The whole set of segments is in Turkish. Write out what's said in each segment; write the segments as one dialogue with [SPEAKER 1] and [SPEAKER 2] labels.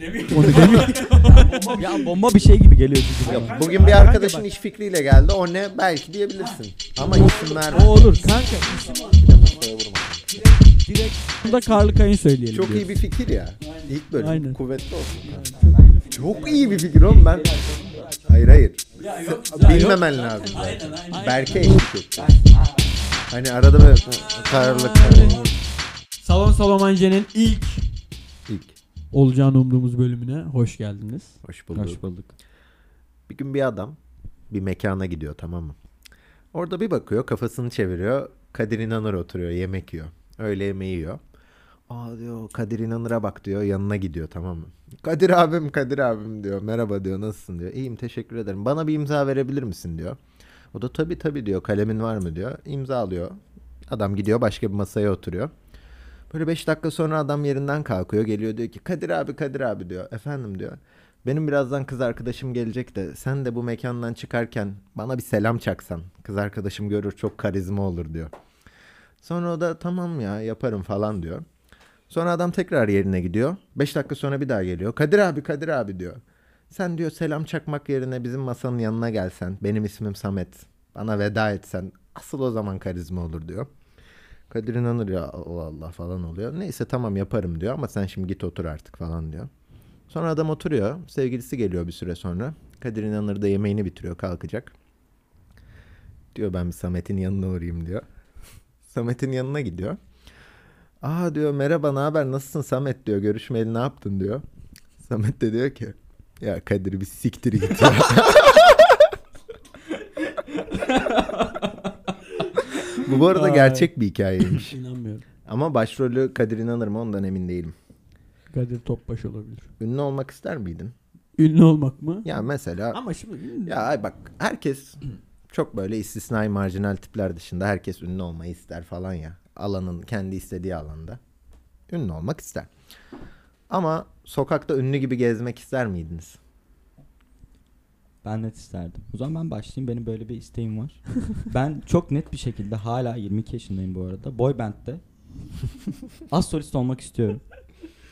[SPEAKER 1] Demiyor.
[SPEAKER 2] Onu demiyor. ya bomba bir şey gibi geliyor çünkü.
[SPEAKER 3] Yok,
[SPEAKER 2] bana.
[SPEAKER 3] bugün bir arkadaşın iş fikriyle geldi. O ne belki diyebilirsin. Ama isim verme.
[SPEAKER 2] O olur kanka. Direkt da Karlı Kayın söyleyelim.
[SPEAKER 3] Çok
[SPEAKER 2] diyor.
[SPEAKER 3] iyi bir fikir ya. İlk bölüm
[SPEAKER 2] Aynen.
[SPEAKER 3] kuvvetli olsun. Çok iyi bir fikir oğlum ben. Hayır hayır.
[SPEAKER 1] Ya yok.
[SPEAKER 3] Bilmemen lazım.
[SPEAKER 1] Aynen aynen.
[SPEAKER 3] Berke eşlik etti. Hani arada böyle kararlılık
[SPEAKER 2] Salon Salomance'nin ilk
[SPEAKER 3] ilk.
[SPEAKER 2] olacağını umduğumuz bölümüne hoş geldiniz.
[SPEAKER 3] Hoş bulduk.
[SPEAKER 2] bulduk.
[SPEAKER 3] Bir gün bir adam bir mekana gidiyor tamam mı? Orada bir bakıyor kafasını çeviriyor. Kadir İnanır oturuyor yemek yiyor. Öğle yemeği yiyor. Aa diyor Kadir İnanır'a bak diyor yanına gidiyor tamam mı? Kadir abim Kadir abim diyor merhaba diyor nasılsın diyor. İyiyim teşekkür ederim bana bir imza verebilir misin diyor. O da tabii tabii diyor kalemin var mı diyor. İmza alıyor. Adam gidiyor başka bir masaya oturuyor. Böyle 5 dakika sonra adam yerinden kalkıyor geliyor diyor ki Kadir abi Kadir abi diyor. Efendim diyor. Benim birazdan kız arkadaşım gelecek de sen de bu mekandan çıkarken bana bir selam çaksan. Kız arkadaşım görür çok karizma olur diyor. Sonra o da tamam ya yaparım falan diyor. Sonra adam tekrar yerine gidiyor. 5 dakika sonra bir daha geliyor. Kadir abi Kadir abi diyor. Sen diyor selam çakmak yerine bizim masanın yanına gelsen. Benim ismim Samet. Bana veda etsen. Asıl o zaman karizma olur diyor. Kadir inanır ya Allah Allah falan oluyor. Neyse tamam yaparım diyor ama sen şimdi git otur artık falan diyor. Sonra adam oturuyor. Sevgilisi geliyor bir süre sonra. Kadir İnanır da yemeğini bitiriyor kalkacak. Diyor ben bir Samet'in yanına uğrayayım diyor. Samet'in yanına gidiyor. Aa diyor merhaba ne haber nasılsın Samet diyor görüşmeli ne yaptın diyor. Samet de diyor ki ya Kadir bir siktir git ya. Bu bu arada
[SPEAKER 2] Ay.
[SPEAKER 3] gerçek bir hikayeymiş.
[SPEAKER 2] İnanmıyorum.
[SPEAKER 3] Ama başrolü Kadir İnanır mı ondan emin değilim.
[SPEAKER 2] Kadir Topbaş olabilir.
[SPEAKER 3] Ünlü olmak ister miydin?
[SPEAKER 2] Ünlü olmak mı?
[SPEAKER 3] Ya mesela
[SPEAKER 2] Ama şimdi
[SPEAKER 3] Ya ay bak herkes çok böyle istisnai marjinal tipler dışında herkes ünlü olmayı ister falan ya. Alanın kendi istediği alanda. Ünlü olmak ister. Ama sokakta ünlü gibi gezmek ister miydiniz?
[SPEAKER 4] Ben net isterdim. O zaman ben başlayayım. Benim böyle bir isteğim var. ben çok net bir şekilde hala 22 yaşındayım bu arada. Boy band'de az solist olmak istiyorum.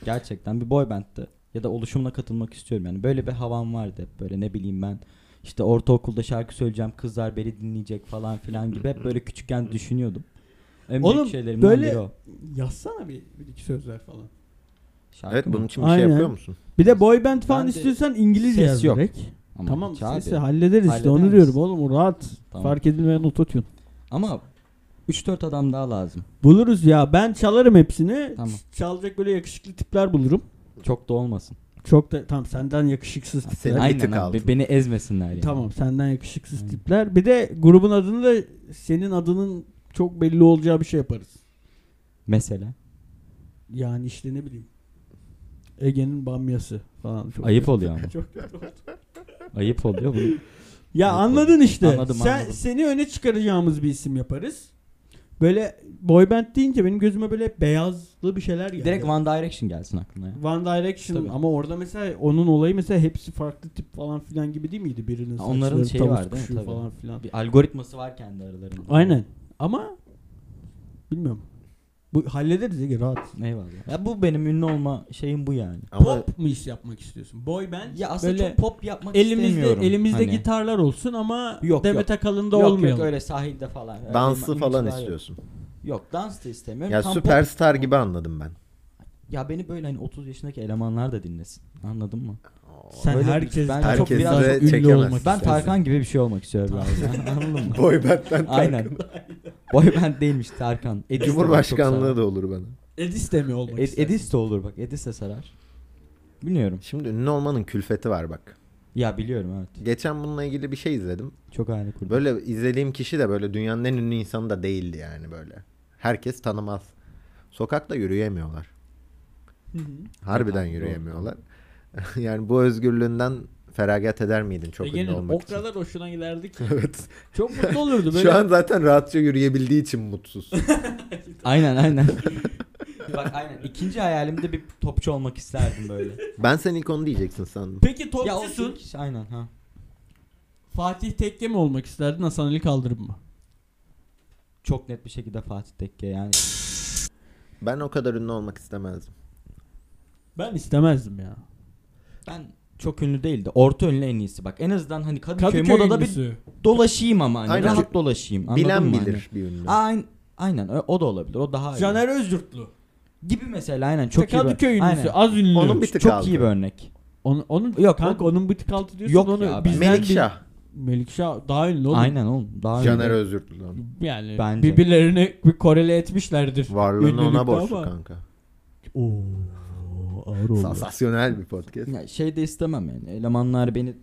[SPEAKER 4] Gerçekten bir boy band'de ya da oluşumla katılmak istiyorum. Yani böyle bir havam vardı hep böyle ne bileyim ben. İşte ortaokulda şarkı söyleyeceğim, kızlar beni dinleyecek falan filan gibi hep böyle küçükken düşünüyordum. En büyük
[SPEAKER 5] Oğlum,
[SPEAKER 4] şeylerimden
[SPEAKER 5] böyle-
[SPEAKER 4] biri o.
[SPEAKER 5] Yazsana bir, bir iki sözler falan.
[SPEAKER 4] Şarkı
[SPEAKER 3] evet
[SPEAKER 4] mı?
[SPEAKER 3] bunun için bir şey
[SPEAKER 2] Aynen.
[SPEAKER 3] yapıyor musun?
[SPEAKER 2] bir de boy band falan
[SPEAKER 4] Ben de
[SPEAKER 2] istiyorsan İngilizce
[SPEAKER 4] ses
[SPEAKER 2] yaz
[SPEAKER 4] yok.
[SPEAKER 2] direkt.
[SPEAKER 4] Ama
[SPEAKER 2] Tamam
[SPEAKER 4] hiç abi.
[SPEAKER 2] sesi hallederiz işte
[SPEAKER 4] Hallederiz.
[SPEAKER 2] onu diyorum oğlum o rahat.
[SPEAKER 4] Tamam.
[SPEAKER 2] Fark edilmeyen ototune.
[SPEAKER 4] Ama 3-4 adam daha lazım.
[SPEAKER 2] Buluruz ya ben çalarım hepsini.
[SPEAKER 4] Tamam.
[SPEAKER 2] Ç- Çalacak böyle yakışıklı tipler bulurum.
[SPEAKER 4] Çok da olmasın.
[SPEAKER 2] Çok da tamam senden yakışıksız tipler.
[SPEAKER 3] Seni bir
[SPEAKER 4] Aynen
[SPEAKER 3] tık
[SPEAKER 4] abi,
[SPEAKER 3] aldım.
[SPEAKER 4] beni ezmesinler yani.
[SPEAKER 2] Tamam senden yakışıksız
[SPEAKER 4] Aynen.
[SPEAKER 2] tipler. Bir de grubun adını da senin adının çok belli olacağı bir şey yaparız.
[SPEAKER 4] Mesela.
[SPEAKER 2] Yani işte ne bileyim. Ege'nin bamyası falan. Çok
[SPEAKER 4] Ayıp oluyor ama.
[SPEAKER 2] Çok
[SPEAKER 4] Ayıp oluyor bunu.
[SPEAKER 2] Ya
[SPEAKER 4] Ayıp
[SPEAKER 2] anladın işte.
[SPEAKER 4] Anladım,
[SPEAKER 2] Sen,
[SPEAKER 4] anladım.
[SPEAKER 2] Seni öne çıkaracağımız bir isim yaparız. Böyle boy band deyince benim gözüme böyle hep beyazlı bir şeyler geldi.
[SPEAKER 4] Direkt One Direction gelsin aklına ya.
[SPEAKER 2] One Direction
[SPEAKER 4] Tabii.
[SPEAKER 2] ama orada mesela onun olayı mesela hepsi farklı tip falan filan gibi değil miydi? Birinin
[SPEAKER 4] Ha, onların
[SPEAKER 2] saçları
[SPEAKER 4] şeyi
[SPEAKER 2] tavus
[SPEAKER 4] var değil mi?
[SPEAKER 2] kuşu
[SPEAKER 4] Tabii.
[SPEAKER 2] falan filan.
[SPEAKER 4] Bir algoritması var kendi aralarında.
[SPEAKER 2] Aynen. Ama bilmiyorum. Bu hallederiz Ege rahat.
[SPEAKER 4] Eyvallah. Ya bu benim ünlü olma şeyim bu yani.
[SPEAKER 3] Ama
[SPEAKER 2] Pop mu iş yapmak istiyorsun? Boy band.
[SPEAKER 4] Ya aslında
[SPEAKER 2] böyle
[SPEAKER 4] çok pop yapmak
[SPEAKER 2] elimizde
[SPEAKER 4] istemiyorum.
[SPEAKER 2] elimizde
[SPEAKER 4] Hani-
[SPEAKER 2] gitarlar olsun ama
[SPEAKER 4] Yok,
[SPEAKER 2] Demet
[SPEAKER 4] yok.
[SPEAKER 2] Akalın'da
[SPEAKER 4] Yok
[SPEAKER 2] olmayalım.
[SPEAKER 4] yok öyle sahilde falan. Öyle
[SPEAKER 3] dansı
[SPEAKER 4] ima-
[SPEAKER 3] falan
[SPEAKER 4] imajlar yok.
[SPEAKER 3] istiyorsun.
[SPEAKER 4] Yok dans da istemiyorum.
[SPEAKER 3] Ya
[SPEAKER 4] Tam pop-
[SPEAKER 3] süperstar gibi anladım ben.
[SPEAKER 4] Ya beni böyle hani 30 yaşındaki elemanlar da dinlesin. Anladın mı?
[SPEAKER 2] Sen
[SPEAKER 4] Öyle bir-
[SPEAKER 2] herkes
[SPEAKER 4] ben
[SPEAKER 2] çok
[SPEAKER 3] herkes
[SPEAKER 2] biraz
[SPEAKER 3] de
[SPEAKER 2] ünlü
[SPEAKER 3] çekemez.
[SPEAKER 2] olmak
[SPEAKER 3] Ben
[SPEAKER 4] Ben
[SPEAKER 2] istersin.
[SPEAKER 4] Tarkan gibi bir şey olmak istiyorum abi. Anladın mı?
[SPEAKER 3] Boy benden
[SPEAKER 4] Aynen. Boy band değilmiş Tarkan. Edis de çok
[SPEAKER 3] Cumhurbaşkanlığı
[SPEAKER 4] sarar.
[SPEAKER 3] da olur bana.
[SPEAKER 2] Edis de mi olmak
[SPEAKER 4] Ed- Edis de olur bak. Edis de sarar. Bilmiyorum.
[SPEAKER 3] Şimdi ünlü olmanın külfeti var bak.
[SPEAKER 4] Ya biliyorum evet.
[SPEAKER 3] Geçen bununla ilgili bir şey izledim.
[SPEAKER 4] Çok aynı kurdu.
[SPEAKER 3] Böyle izlediğim kişi de böyle dünyanın en ünlü insanı da değildi yani böyle. Herkes tanımaz. Sokakta yürüyemiyorlar.
[SPEAKER 2] istersin?
[SPEAKER 3] Harbiden
[SPEAKER 4] Doğru.
[SPEAKER 3] yürüyemiyorlar. yani bu özgürlüğünden feragat eder miydin çok ünlü
[SPEAKER 2] Ege'nin
[SPEAKER 3] olmak
[SPEAKER 2] E, o
[SPEAKER 3] için?
[SPEAKER 2] kadar hoşuna giderdi ki.
[SPEAKER 3] Evet.
[SPEAKER 2] Çok mutlu olurdu böyle.
[SPEAKER 3] Şu an zaten rahatça yürüyebildiği için mutsuz.
[SPEAKER 4] Aynen aynen. Bak aynen. İkinci hayalimde bir topçu olmak isterdim böyle.
[SPEAKER 3] ben sen ilk onu diyeceksin sandım.
[SPEAKER 2] Peki
[SPEAKER 4] ya o
[SPEAKER 2] topçusun.
[SPEAKER 4] kişi aynen ha.
[SPEAKER 2] Fatih Tekke mi olmak isterdin Hasan Ali Kaldırım mı?
[SPEAKER 4] Çok net bir şekilde Fatih Tekke yani.
[SPEAKER 3] Ben o kadar ünlü olmak istemezdim.
[SPEAKER 2] Ben istemezdim ya.
[SPEAKER 4] Ben çok ünlü değil de orta ünlü en iyisi bak. En azından hani Kadıköy,
[SPEAKER 5] Kadıköy
[SPEAKER 4] modada bir
[SPEAKER 5] ünlüsü.
[SPEAKER 4] dolaşayım ama hani
[SPEAKER 3] Aynen.
[SPEAKER 4] rahat dolaşayım. anladın mı
[SPEAKER 3] Bilen
[SPEAKER 4] hani?
[SPEAKER 3] bilir bir ünlü.
[SPEAKER 4] Aynen. Aynen ö- o da olabilir. O daha iyi.
[SPEAKER 5] Caner Özyurtlu.
[SPEAKER 4] gibi mesela aynen çok iyi. bir-
[SPEAKER 2] Kadıköy ünlüsü.
[SPEAKER 4] Aynen.
[SPEAKER 2] Az ünlü.
[SPEAKER 3] Onun bir tık
[SPEAKER 4] çok
[SPEAKER 3] aldı.
[SPEAKER 4] iyi bir örnek.
[SPEAKER 2] Onun, onun
[SPEAKER 4] Yok,
[SPEAKER 2] yok kanka onun bir tık altı diyorsun.
[SPEAKER 4] Yok
[SPEAKER 2] onu
[SPEAKER 4] ya, ben-
[SPEAKER 2] bizden
[SPEAKER 3] Melikşah.
[SPEAKER 2] bir- Melikşah daha ünlü oğlum.
[SPEAKER 4] Aynen oğlum. Daha iyi.
[SPEAKER 3] Caner Özürtlü'den.
[SPEAKER 2] Yani
[SPEAKER 4] Bence.
[SPEAKER 2] birbirlerini bir korele etmişlerdir.
[SPEAKER 3] Varlığını ona
[SPEAKER 2] Ünlülükte
[SPEAKER 3] borçlu
[SPEAKER 2] ama-
[SPEAKER 3] kanka.
[SPEAKER 2] Oo. Ağır oldu.
[SPEAKER 3] Sansasyonel bir podcast.
[SPEAKER 4] Ya şey de istemem yani. Elemanlar beni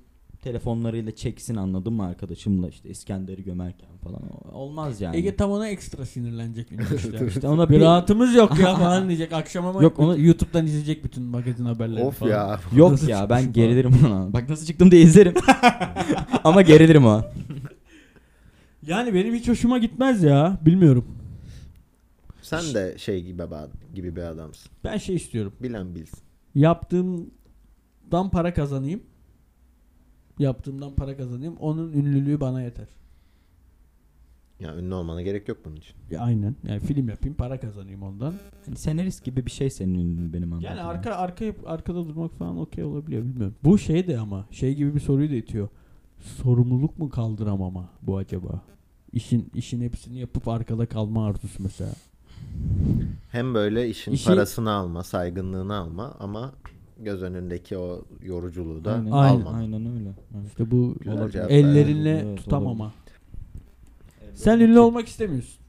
[SPEAKER 4] telefonlarıyla çeksin anladın mı arkadaşımla işte İskender'i gömerken falan. O- Olmaz yani.
[SPEAKER 5] Ege tam ona ekstra sinirlenecek ünlü işte.
[SPEAKER 4] işte ona
[SPEAKER 5] bir
[SPEAKER 4] bir
[SPEAKER 5] rahatımız yok ya falan diyecek. Akşam ama
[SPEAKER 4] Yok, onu-
[SPEAKER 5] YouTube'dan izleyecek bütün magazin haberlerini
[SPEAKER 3] of
[SPEAKER 5] falan.
[SPEAKER 3] ya.
[SPEAKER 4] Yok
[SPEAKER 5] Nasıl
[SPEAKER 4] ya
[SPEAKER 5] çıkmışım
[SPEAKER 4] ben
[SPEAKER 5] falan.
[SPEAKER 4] gerilirim ona. Bak nasıl çıktım diye izlerim. Ama gerilirim o.
[SPEAKER 2] Yani benim hiç hoşuma gitmez ya. Bilmiyorum.
[SPEAKER 3] Sen de şey gibi, ba- gibi bir adamsın.
[SPEAKER 2] Ben şey istiyorum.
[SPEAKER 3] Bilen bilsin.
[SPEAKER 2] Yaptığımdan para kazanayım.
[SPEAKER 5] Yaptığımdan para kazanayım. Onun ünlülüğü bana yeter.
[SPEAKER 3] Ya ünlü olmana gerek yok bunun için.
[SPEAKER 2] Ya aynen.
[SPEAKER 5] Yani film yapayım para kazanayım ondan.
[SPEAKER 4] Hani senarist gibi bir şey senin ünlün benim anladığım.
[SPEAKER 2] Yani
[SPEAKER 5] arka-
[SPEAKER 2] arka arka arkada durmak falan okey olabiliyor bilmiyorum. Bu şey de ama şey gibi bir soruyu da itiyor. Sorumluluk mu kaldıramama bu acaba? İşin işin hepsini yapıp arkada kalma arzusu mesela.
[SPEAKER 3] Hem böyle işin
[SPEAKER 2] İşi-
[SPEAKER 3] parasını alma, saygınlığını alma ama göz önündeki o yoruculuğu da
[SPEAKER 4] Aynen,
[SPEAKER 3] alma.
[SPEAKER 4] aynen öyle. Evet.
[SPEAKER 2] İşte bu
[SPEAKER 3] Güzel
[SPEAKER 2] olabilir.
[SPEAKER 3] cevap
[SPEAKER 2] ellerinle
[SPEAKER 4] verdim. Evet,
[SPEAKER 2] tutamama.
[SPEAKER 5] Sen ünlü olmak istemiyorsun.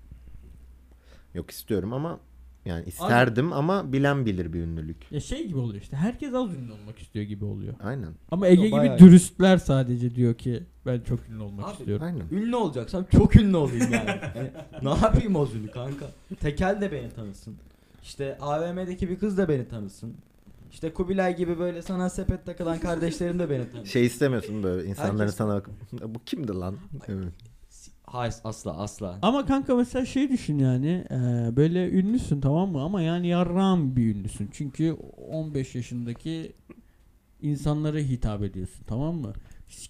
[SPEAKER 3] Yok istiyorum ama yani isterdim ama bilen bilir bir ünlülük.
[SPEAKER 5] Ya şey gibi oluyor işte. Herkes az ünlü olmak istiyor gibi oluyor.
[SPEAKER 3] Aynen.
[SPEAKER 5] Ama Ege gibi
[SPEAKER 4] bayağı-
[SPEAKER 5] dürüstler sadece diyor ki ben çok ünlü olmak
[SPEAKER 4] Abi,
[SPEAKER 5] istiyorum.
[SPEAKER 3] Aynen.
[SPEAKER 4] Ünlü olacaksam çok ünlü olayım yani. Yani ne yapayım o ünlü kanka? Tekel de beni tanısın. İşte AVM'deki bir kız da beni tanısın. İşte Kubilay gibi böyle sana sepet takılan kardeşlerim de beni tanısın.
[SPEAKER 3] Şey istemiyorsun böyle insanların
[SPEAKER 4] Herkes-
[SPEAKER 3] sana bakıp bu kimdi lan? Evet.
[SPEAKER 4] Hayır asla asla.
[SPEAKER 2] Ama kanka mesela şey düşün yani e, böyle ünlüsün tamam mı ama yani yarram bir ünlüsün. Çünkü 15 yaşındaki insanlara hitap ediyorsun tamam mı?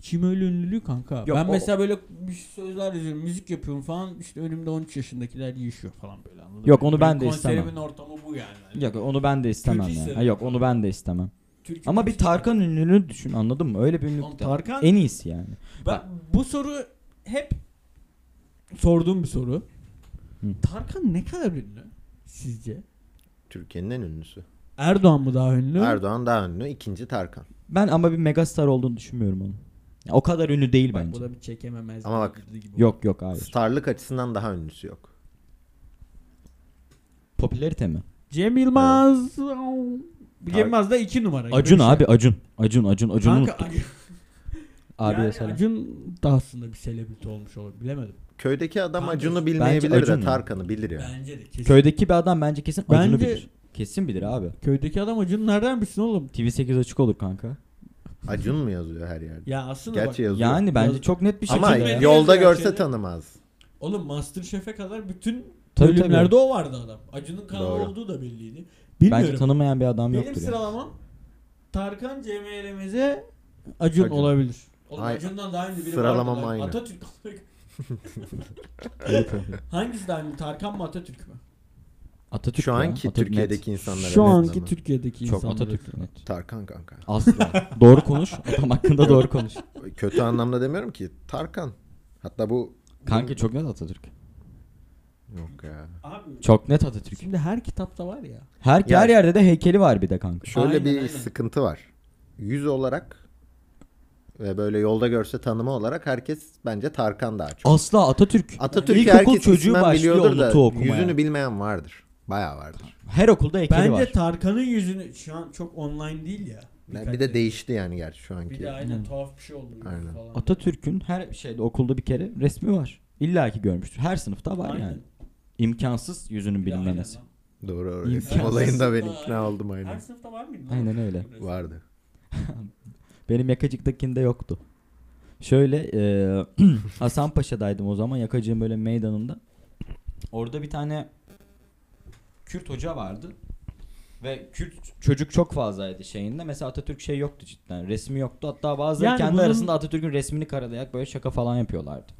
[SPEAKER 2] Kim öyle ünlülüğü kanka?
[SPEAKER 4] Yok,
[SPEAKER 2] ben
[SPEAKER 4] o-
[SPEAKER 2] mesela böyle bir sözler yazıyorum, müzik yapıyorum falan işte önümde 13 yaşındakiler yiyişiyor falan böyle anladın
[SPEAKER 4] Yok,
[SPEAKER 2] mı?
[SPEAKER 4] onu
[SPEAKER 2] Benim
[SPEAKER 4] ben de istemem.
[SPEAKER 2] Konserimin ortamı bu yani. Hani
[SPEAKER 4] Yok onu ben de istemem
[SPEAKER 2] Kötü
[SPEAKER 4] yani.
[SPEAKER 2] hissederim.
[SPEAKER 4] Ha, Yok onu ben de istemem.
[SPEAKER 2] Türk-
[SPEAKER 4] Ama bir Tarkan ünlülüğünü düşün anladın mı? Öyle bir
[SPEAKER 2] Oğlum
[SPEAKER 4] ünlülük de.
[SPEAKER 2] Tarkan
[SPEAKER 4] En iyisi yani.
[SPEAKER 2] ben, bu soru hep sorduğum bir soru.
[SPEAKER 4] Hı.
[SPEAKER 2] Tarkan ne kadar ünlü sizce?
[SPEAKER 3] Türkiye'nin en ünlüsü.
[SPEAKER 2] Erdoğan mı daha ünlü?
[SPEAKER 3] Erdoğan daha ünlü. ikinci Tarkan.
[SPEAKER 4] Ben ama bir megastar olduğunu düşünmüyorum onu. Ya, o kadar ünlü değil
[SPEAKER 2] Bak
[SPEAKER 4] bence.
[SPEAKER 2] bu da bir çekememez.
[SPEAKER 3] Ama bak-
[SPEAKER 4] Yok yok hayır.
[SPEAKER 3] Starlık açısından daha ünlüsü yok.
[SPEAKER 4] Popülerite mi?
[SPEAKER 2] Cem Yılmaz.
[SPEAKER 3] Tar-
[SPEAKER 2] Cem Yılmaz da iki numara. gibi
[SPEAKER 4] Acun
[SPEAKER 2] bir şey.
[SPEAKER 4] abi Acun. Acun Acun Acun'u
[SPEAKER 2] Kanka,
[SPEAKER 4] unuttuk.
[SPEAKER 2] Acun-
[SPEAKER 4] Abiye
[SPEAKER 2] yani
[SPEAKER 4] selam.
[SPEAKER 2] Acun da aslında bir selebriti olmuş olur. Bilemedim.
[SPEAKER 3] Köydeki adam
[SPEAKER 2] Kanka,
[SPEAKER 3] Acun'u bilmeyebilir
[SPEAKER 4] bence Acun
[SPEAKER 3] de
[SPEAKER 4] ya.
[SPEAKER 3] Tarkan'ı bilir ya.
[SPEAKER 2] Bence de kesin.
[SPEAKER 4] Köydeki bir adam bence kesin Acun'u
[SPEAKER 2] Bence-
[SPEAKER 4] bilir. Kesin bilir abi.
[SPEAKER 2] Köydeki adam Acun'u nereden bilsin oğlum?
[SPEAKER 4] TV8 açık olur kanka.
[SPEAKER 3] Acun mu yazıyor her yerde?
[SPEAKER 2] Ya aslında
[SPEAKER 3] Gerçi yazıyor.
[SPEAKER 4] Yani bence
[SPEAKER 2] Yaz-
[SPEAKER 4] çok net bir şekilde.
[SPEAKER 3] Ama
[SPEAKER 4] ya.
[SPEAKER 2] Acun-
[SPEAKER 3] yolda
[SPEAKER 2] Yazıyor
[SPEAKER 3] görse
[SPEAKER 2] şeyde.
[SPEAKER 3] tanımaz.
[SPEAKER 2] bak oğlum Masterchef'e kadar bütün
[SPEAKER 4] Tabii,
[SPEAKER 2] bölümlerde
[SPEAKER 4] tabii.
[SPEAKER 2] o vardı adam. Acun'un kanalı
[SPEAKER 3] Doğru.
[SPEAKER 2] olduğu da belliydi. Bilmiyorum.
[SPEAKER 4] Bence tanımayan bir adam
[SPEAKER 2] Benim
[SPEAKER 4] yoktur. ya.
[SPEAKER 2] sıralamam Tarkan, Cem Yılmaz'e Acun,
[SPEAKER 3] Acun.
[SPEAKER 2] olabilir. Oğlum
[SPEAKER 3] Ay-
[SPEAKER 2] Acun'dan daha ünlü biri
[SPEAKER 3] Sıralamam
[SPEAKER 2] vardı. lan.
[SPEAKER 3] aynı.
[SPEAKER 2] Atatürk. Hangisi daha ünlü? Tarkan mı Atatürk mü?
[SPEAKER 4] Atatürk
[SPEAKER 3] Şu
[SPEAKER 4] ya,
[SPEAKER 3] anki
[SPEAKER 4] Atatürk net.
[SPEAKER 3] Türkiye'deki insanlara
[SPEAKER 2] Şu
[SPEAKER 3] net
[SPEAKER 2] anki
[SPEAKER 3] ama.
[SPEAKER 2] Türkiye'deki
[SPEAKER 4] çok
[SPEAKER 2] insanları.
[SPEAKER 4] Atatürk net.
[SPEAKER 3] Tarkan kanka.
[SPEAKER 4] Asla. doğru konuş. Adam hakkında doğru konuş.
[SPEAKER 3] Kötü anlamda demiyorum ki. Tarkan. Hatta bu
[SPEAKER 4] Kanka çok net Atatürk.
[SPEAKER 3] yok ya.
[SPEAKER 4] Çok net Atatürk.
[SPEAKER 2] Şimdi her kitapta var ya.
[SPEAKER 4] Her,
[SPEAKER 3] Ya-
[SPEAKER 4] her yerde de heykeli var bir de kanka.
[SPEAKER 3] Şöyle
[SPEAKER 2] Aynen,
[SPEAKER 3] bir
[SPEAKER 2] aynen.
[SPEAKER 3] sıkıntı var. Yüz olarak ve böyle yolda görse tanıma olarak herkes bence Tarkan daha çok.
[SPEAKER 4] Asla Atatürk.
[SPEAKER 3] Atatürk
[SPEAKER 4] İlkokul
[SPEAKER 3] herkes
[SPEAKER 4] çocuğu
[SPEAKER 3] ismen
[SPEAKER 4] başlıyor
[SPEAKER 3] biliyordur da
[SPEAKER 4] notu okumaya.
[SPEAKER 3] yüzünü bilmeyen vardır. Bayağı vardır.
[SPEAKER 4] Her okulda heykeli
[SPEAKER 2] Bence
[SPEAKER 4] var.
[SPEAKER 2] Tarkan'ın yüzünü şu an çok online değil ya.
[SPEAKER 3] bir de değişti yani gerçi şu anki.
[SPEAKER 2] Bir de aynen
[SPEAKER 4] Hı.
[SPEAKER 2] tuhaf bir şey oldu. yüzü
[SPEAKER 3] Aynen.
[SPEAKER 2] Falan.
[SPEAKER 4] Atatürk'ün her şeyde okulda bir kere resmi var. İlla ki görmüştür. Her sınıfta var
[SPEAKER 2] Aynen.
[SPEAKER 4] yani. İmkansız yüzünün
[SPEAKER 2] Bir de aynen
[SPEAKER 4] bilinmemesi.
[SPEAKER 2] lan.
[SPEAKER 3] Doğru oraya.
[SPEAKER 4] İmkansız.
[SPEAKER 3] Olayında ben
[SPEAKER 2] Daha-
[SPEAKER 3] ikna oldum
[SPEAKER 2] Her
[SPEAKER 3] aynen.
[SPEAKER 2] sınıfta var mıydı? lan?
[SPEAKER 4] Aynen öyle.
[SPEAKER 3] Vardı.
[SPEAKER 4] Benim yakacıktakinde yoktu. Şöyle eee Hasanpaşa'daydım o zaman yakacığın böyle meydanında. Orada bir tane Kürt hoca vardı. Ve Kürt çocuk çok fazlaydı şeyinde. Mesela Atatürk şey yoktu cidden. Resmi yoktu. Hatta bazıları
[SPEAKER 2] Yani
[SPEAKER 4] kendi
[SPEAKER 2] bunun-
[SPEAKER 4] arasında Atatürk'ün resmini karalayarak böyle şaka falan yapıyorlardı.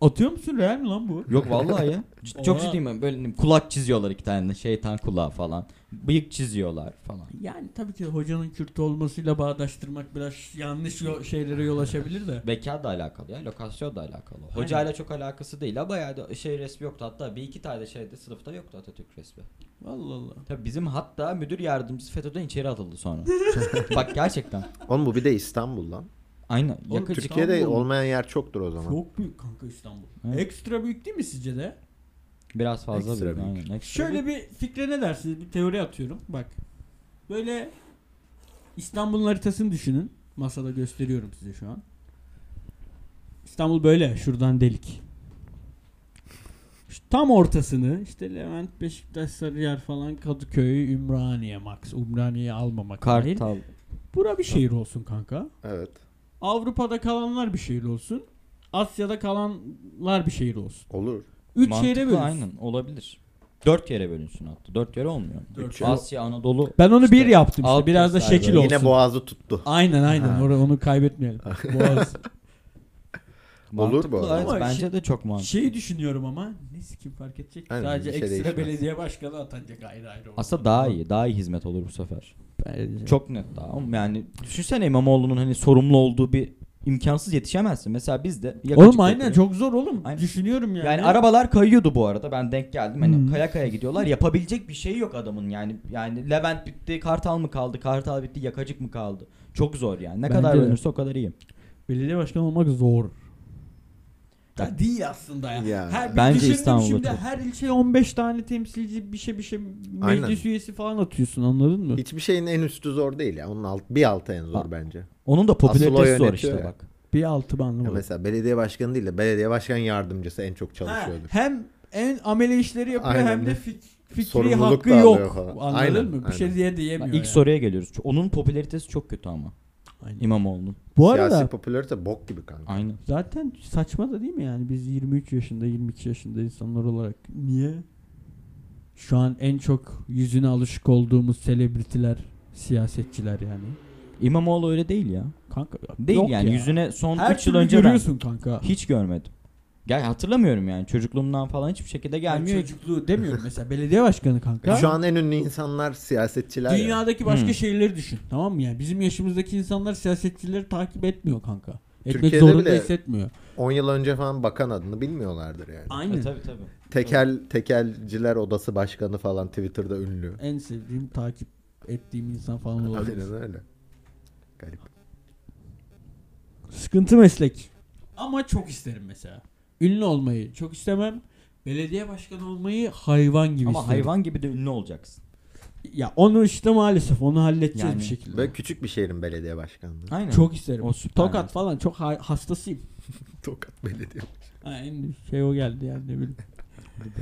[SPEAKER 2] Atıyor musun real mi lan bu?
[SPEAKER 4] Yok vallahi ya. Cid- çok
[SPEAKER 2] Oha.
[SPEAKER 4] ciddiyim ben. Böyle ne bileyim, kulak çiziyorlar iki tane şeytan kulağı falan. Bıyık çiziyorlar falan.
[SPEAKER 2] Yani tabii ki hocanın Kürt olmasıyla bağdaştırmak biraz yanlış yo- şeylere yol açabilir de.
[SPEAKER 4] Beka da alakalı ya, lokasyon da alakalı. Hocayla çok alakası değil ama bayağı da şey resmi yoktu. Hatta bir iki tane şeyde sınıfta yoktu Atatürk resmi.
[SPEAKER 2] Allah Allah.
[SPEAKER 4] Tabii bizim hatta müdür yardımcısı FETÖ'den içeri atıldı sonra. Bak gerçekten.
[SPEAKER 3] Oğlum bu bir de İstanbul lan.
[SPEAKER 4] Aynen.
[SPEAKER 2] Oğlum
[SPEAKER 4] Yakıcı.
[SPEAKER 2] Türk-
[SPEAKER 3] Türkiye'de
[SPEAKER 2] İstanbul.
[SPEAKER 3] olmayan yer çoktur o zaman.
[SPEAKER 2] Çok büyük kanka İstanbul.
[SPEAKER 4] Evet.
[SPEAKER 2] Ekstra büyük değil mi sizce de?
[SPEAKER 4] Biraz fazla
[SPEAKER 3] Ekstra
[SPEAKER 4] büyük.
[SPEAKER 3] büyük.
[SPEAKER 4] Aynen. Ekstra
[SPEAKER 2] Şöyle bir fikre ne dersiniz? Bir teori atıyorum. Bak. Böyle İstanbul'un haritasını düşünün. Masada gösteriyorum size şu an. İstanbul böyle. Şuradan delik. Şu tam ortasını işte Levent, Beşiktaş, Sarıyer falan Kadıköy, Ümraniye max. Ümraniye'yi almamak dahil.
[SPEAKER 4] Kartal.
[SPEAKER 2] Bura bir şehir olsun kanka.
[SPEAKER 3] Evet.
[SPEAKER 2] Avrupa'da kalanlar bir şehir olsun. Asya'da kalanlar bir şehir olsun.
[SPEAKER 3] Olur.
[SPEAKER 2] Üç
[SPEAKER 4] Mantıklı,
[SPEAKER 2] şehre bölünsün.
[SPEAKER 4] Aynen olabilir. Dört yere bölünsün hatta. Dört yere olmuyor.
[SPEAKER 2] Dört
[SPEAKER 4] Üç
[SPEAKER 2] yere-
[SPEAKER 4] Asya, Anadolu.
[SPEAKER 2] Ben onu
[SPEAKER 4] İşte
[SPEAKER 2] bir yaptım işte.
[SPEAKER 4] alt
[SPEAKER 2] Biraz da
[SPEAKER 4] gösterge.
[SPEAKER 2] şekil
[SPEAKER 4] Yine
[SPEAKER 2] olsun.
[SPEAKER 3] Yine boğazı tuttu.
[SPEAKER 2] Aynen aynen
[SPEAKER 3] Ha.
[SPEAKER 2] Or- onu kaybetmeyelim. Boğaz.
[SPEAKER 3] Olur
[SPEAKER 4] Mantıklı,
[SPEAKER 3] bu arada.
[SPEAKER 4] evet,
[SPEAKER 2] Ama
[SPEAKER 4] bence
[SPEAKER 2] şey-
[SPEAKER 4] de çok mantıklı.
[SPEAKER 2] Şeyi düşünüyorum ama ne sikim fark edecek ki?
[SPEAKER 3] Aynen,
[SPEAKER 2] Sadece
[SPEAKER 3] bir şey
[SPEAKER 2] ekstra
[SPEAKER 3] değişmez.
[SPEAKER 2] belediye başkanı atanacak ayrı ayrı. olsun.
[SPEAKER 4] Aslında daha iyi. Daha iyi hizmet olur bu sefer.
[SPEAKER 2] Bence.
[SPEAKER 4] Çok net daha. Ama Yani düşünsene İmamoğlu'nun hani sorumlu olduğu bir imkansız yetişemezsin. Mesela biz de yakacık
[SPEAKER 2] Oğlum aynen
[SPEAKER 4] yapıyoruz.
[SPEAKER 2] çok zor oğlum.
[SPEAKER 4] Aynen.
[SPEAKER 2] Düşünüyorum yani.
[SPEAKER 4] Yani arabalar kayıyordu bu arada. Ben denk geldim. Hani
[SPEAKER 2] Hmm.
[SPEAKER 4] kaya kaya gidiyorlar. Yapabilecek bir şey yok adamın. Yani yani Levent bitti, Kartal mı kaldı? Kartal bitti, Yakacık mı kaldı? Çok zor yani. Ne
[SPEAKER 2] Bence
[SPEAKER 4] kadar
[SPEAKER 2] de.
[SPEAKER 4] dönürse o kadar iyi.
[SPEAKER 2] belediye başkanı olmak zor. Ya değil aslında ya.
[SPEAKER 3] Ya.
[SPEAKER 2] Her,
[SPEAKER 4] Bence
[SPEAKER 2] Bence
[SPEAKER 4] İstanbul'da
[SPEAKER 2] şimdi
[SPEAKER 4] çok.
[SPEAKER 2] her ilçeye 15 tane temsilci bir şey bir şey meclis
[SPEAKER 3] Aynen.
[SPEAKER 2] üyesi falan atıyorsun anladın mı?
[SPEAKER 3] Hiçbir şeyin en üstü zor değil ya. Onun alt, bir altı en zor
[SPEAKER 4] Ha.
[SPEAKER 3] bence.
[SPEAKER 4] Onun da
[SPEAKER 3] Asıl o
[SPEAKER 4] popülaritesi zor
[SPEAKER 3] yönetiyor
[SPEAKER 4] işte
[SPEAKER 3] ya.
[SPEAKER 4] bak.
[SPEAKER 2] Bir altı bandı
[SPEAKER 3] Ya
[SPEAKER 2] var.
[SPEAKER 3] mesela belediye başkanı değil de belediye başkan yardımcısı en çok
[SPEAKER 2] Ha,
[SPEAKER 3] çalışıyordur.
[SPEAKER 2] hem en amele işleri yapıyor
[SPEAKER 3] Aynen.
[SPEAKER 2] hem de fik- fikri
[SPEAKER 3] Sorumluluk
[SPEAKER 2] hakkı
[SPEAKER 3] da alıyor
[SPEAKER 2] yok.
[SPEAKER 3] falan.
[SPEAKER 2] Anladın
[SPEAKER 3] Aynen,
[SPEAKER 2] mı? Bir
[SPEAKER 3] aynen.
[SPEAKER 2] şey diye
[SPEAKER 4] Bak
[SPEAKER 2] diyemiyor.
[SPEAKER 4] ilk
[SPEAKER 2] yani.
[SPEAKER 4] soruya geliyoruz. Onun popülaritesi çok kötü ama.
[SPEAKER 2] Aynen.
[SPEAKER 4] İmamoğlu'nun.
[SPEAKER 2] Bu
[SPEAKER 3] Siyasi
[SPEAKER 2] arada
[SPEAKER 3] popülarite bok gibi kanka.
[SPEAKER 4] Aynen.
[SPEAKER 2] zaten saçma da değil mi yani biz 23 yaşında 22 yaşında insanlar olarak niye şu an en çok yüzüne alışık olduğumuz selebritiler siyasetçiler yani.
[SPEAKER 4] İmamoğlu öyle değil ya.
[SPEAKER 2] Kanka
[SPEAKER 4] Değil
[SPEAKER 2] yok
[SPEAKER 4] yani
[SPEAKER 2] ya.
[SPEAKER 4] yüzüne son
[SPEAKER 2] Her
[SPEAKER 4] 3 yıl
[SPEAKER 2] türlü
[SPEAKER 4] önce ben
[SPEAKER 2] görüyorsun kanka.
[SPEAKER 4] hiç görmedim. Gel hatırlamıyorum yani çocukluğumdan falan hiçbir şekilde gelmiyor.
[SPEAKER 2] Yani şey- çocukluğu demiyorum mesela belediye başkanı kanka.
[SPEAKER 3] E Şu an en ünlü insanlar siyasetçiler. ya.
[SPEAKER 2] Dünyadaki başka
[SPEAKER 4] Hmm.
[SPEAKER 2] şehirleri düşün. Tamam mı? Yani bizim yaşımızdaki insanlar siyasetçileri takip etmiyor kanka. Etmek
[SPEAKER 3] Türkiye'de
[SPEAKER 2] zorunda
[SPEAKER 3] bile-
[SPEAKER 2] hissetmiyor.
[SPEAKER 3] 10 yıl önce falan bakan adını bilmiyorlardır yani.
[SPEAKER 2] Aynen.
[SPEAKER 4] E, tabii tabii.
[SPEAKER 3] Tekel tekelciler odası başkanı falan Twitter'da ünlü.
[SPEAKER 2] En sevdiğim takip ettiğim insan falan olabilir.
[SPEAKER 3] Aynen öyle. Garip.
[SPEAKER 2] Sıkıntı meslek. Ama çok isterim mesela. Ünlü olmayı çok istemem. Belediye başkanı olmayı hayvan gibi
[SPEAKER 4] Ama
[SPEAKER 2] isterim.
[SPEAKER 4] hayvan gibi de ünlü olacaksın.
[SPEAKER 2] Ya onu işte maalesef onu halledeceğiz
[SPEAKER 4] Yani.
[SPEAKER 2] bir şekilde.
[SPEAKER 3] Böyle küçük bir şehrin belediye başkanlığı.
[SPEAKER 4] Aynen.
[SPEAKER 2] Çok isterim.
[SPEAKER 4] O süper
[SPEAKER 2] Tokat
[SPEAKER 4] mesela.
[SPEAKER 2] falan çok ha- hastasıyım.
[SPEAKER 3] Tokat belediye.
[SPEAKER 2] Ha, en şey o geldi yani ne bileyim.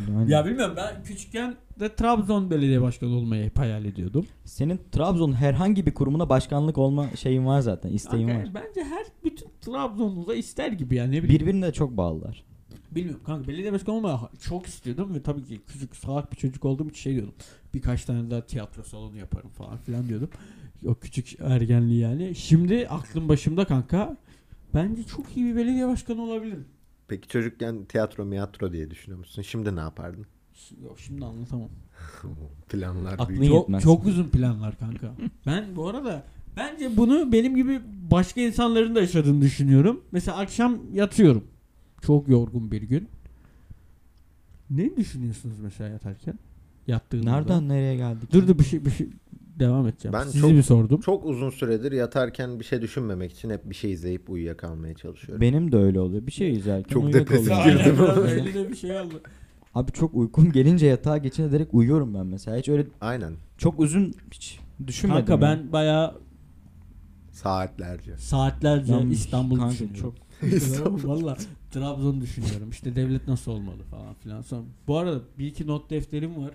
[SPEAKER 4] Aynen.
[SPEAKER 2] Ya bilmiyorum ben küçükken de Trabzon belediye başkanı olmayı hep hayal ediyordum.
[SPEAKER 4] Senin Trabzon herhangi bir kurumuna başkanlık olma şeyin var zaten, isteğin
[SPEAKER 2] Kanka,
[SPEAKER 4] var.
[SPEAKER 2] Bence her bütün Trabzonlu da ister gibi yani ne bileyim.
[SPEAKER 4] Birbirine de çok bağlılar.
[SPEAKER 2] Bilmiyorum kanka belediye başkanı olmayı ha- çok istiyordum ve tabii ki küçük salak bir çocuk olduğum için şey diyordum. Birkaç tane daha tiyatro salonu yaparım falan filan diyordum. O küçük ergenliği yani. Şimdi aklım başımda kanka. Bence çok iyi bir belediye başkanı olabilirim.
[SPEAKER 3] Peki çocukken tiyatro miyatro diye düşünüyor musun? Şimdi ne yapardın?
[SPEAKER 2] Ş- Yok şimdi anlatamam.
[SPEAKER 3] Planlar
[SPEAKER 4] Aklın
[SPEAKER 3] büyük.
[SPEAKER 4] yok.
[SPEAKER 2] Çok,
[SPEAKER 4] Yetmez.
[SPEAKER 2] çok uzun planlar kanka. ben bu arada bence bunu benim gibi başka insanların da yaşadığını düşünüyorum. Mesela akşam yatıyorum. Çok yorgun bir gün. Ne düşünüyorsunuz mesela yatarken? Yattığınızda.
[SPEAKER 4] Nereden nereye geldik?
[SPEAKER 2] Dur dur bir şey bir şey devam edeceğim.
[SPEAKER 3] Ben
[SPEAKER 2] Sizi
[SPEAKER 3] çok-
[SPEAKER 2] bir sordum.
[SPEAKER 3] Çok uzun süredir yatarken bir şey düşünmemek için hep bir şey izleyip uyuyakalmaya çalışıyorum.
[SPEAKER 4] Benim de öyle oluyor. Bir şey izlerken
[SPEAKER 3] Çok
[SPEAKER 4] uyuyakalıyor.
[SPEAKER 3] depresif
[SPEAKER 4] Aynen.
[SPEAKER 3] girdim.
[SPEAKER 4] Aynen.
[SPEAKER 2] bir şey aldı.
[SPEAKER 4] Abi çok uykum gelince yatağa geçince direkt uyuyorum ben mesela. Hiç öyle
[SPEAKER 3] Aynen.
[SPEAKER 4] çok uzun hiç düşünmedim.
[SPEAKER 2] Kanka
[SPEAKER 4] ya.
[SPEAKER 2] ben bayağı
[SPEAKER 3] Saatlerce.
[SPEAKER 2] saatlerce
[SPEAKER 4] Ben-
[SPEAKER 2] İstanbul
[SPEAKER 4] Kanka
[SPEAKER 2] düşünüyorum.
[SPEAKER 4] çok-
[SPEAKER 3] İstanbul.
[SPEAKER 2] Valla Trabzon düşünüyorum. İşte devlet nasıl olmalı falan filan. Sonra, bu arada bir iki not defterim var.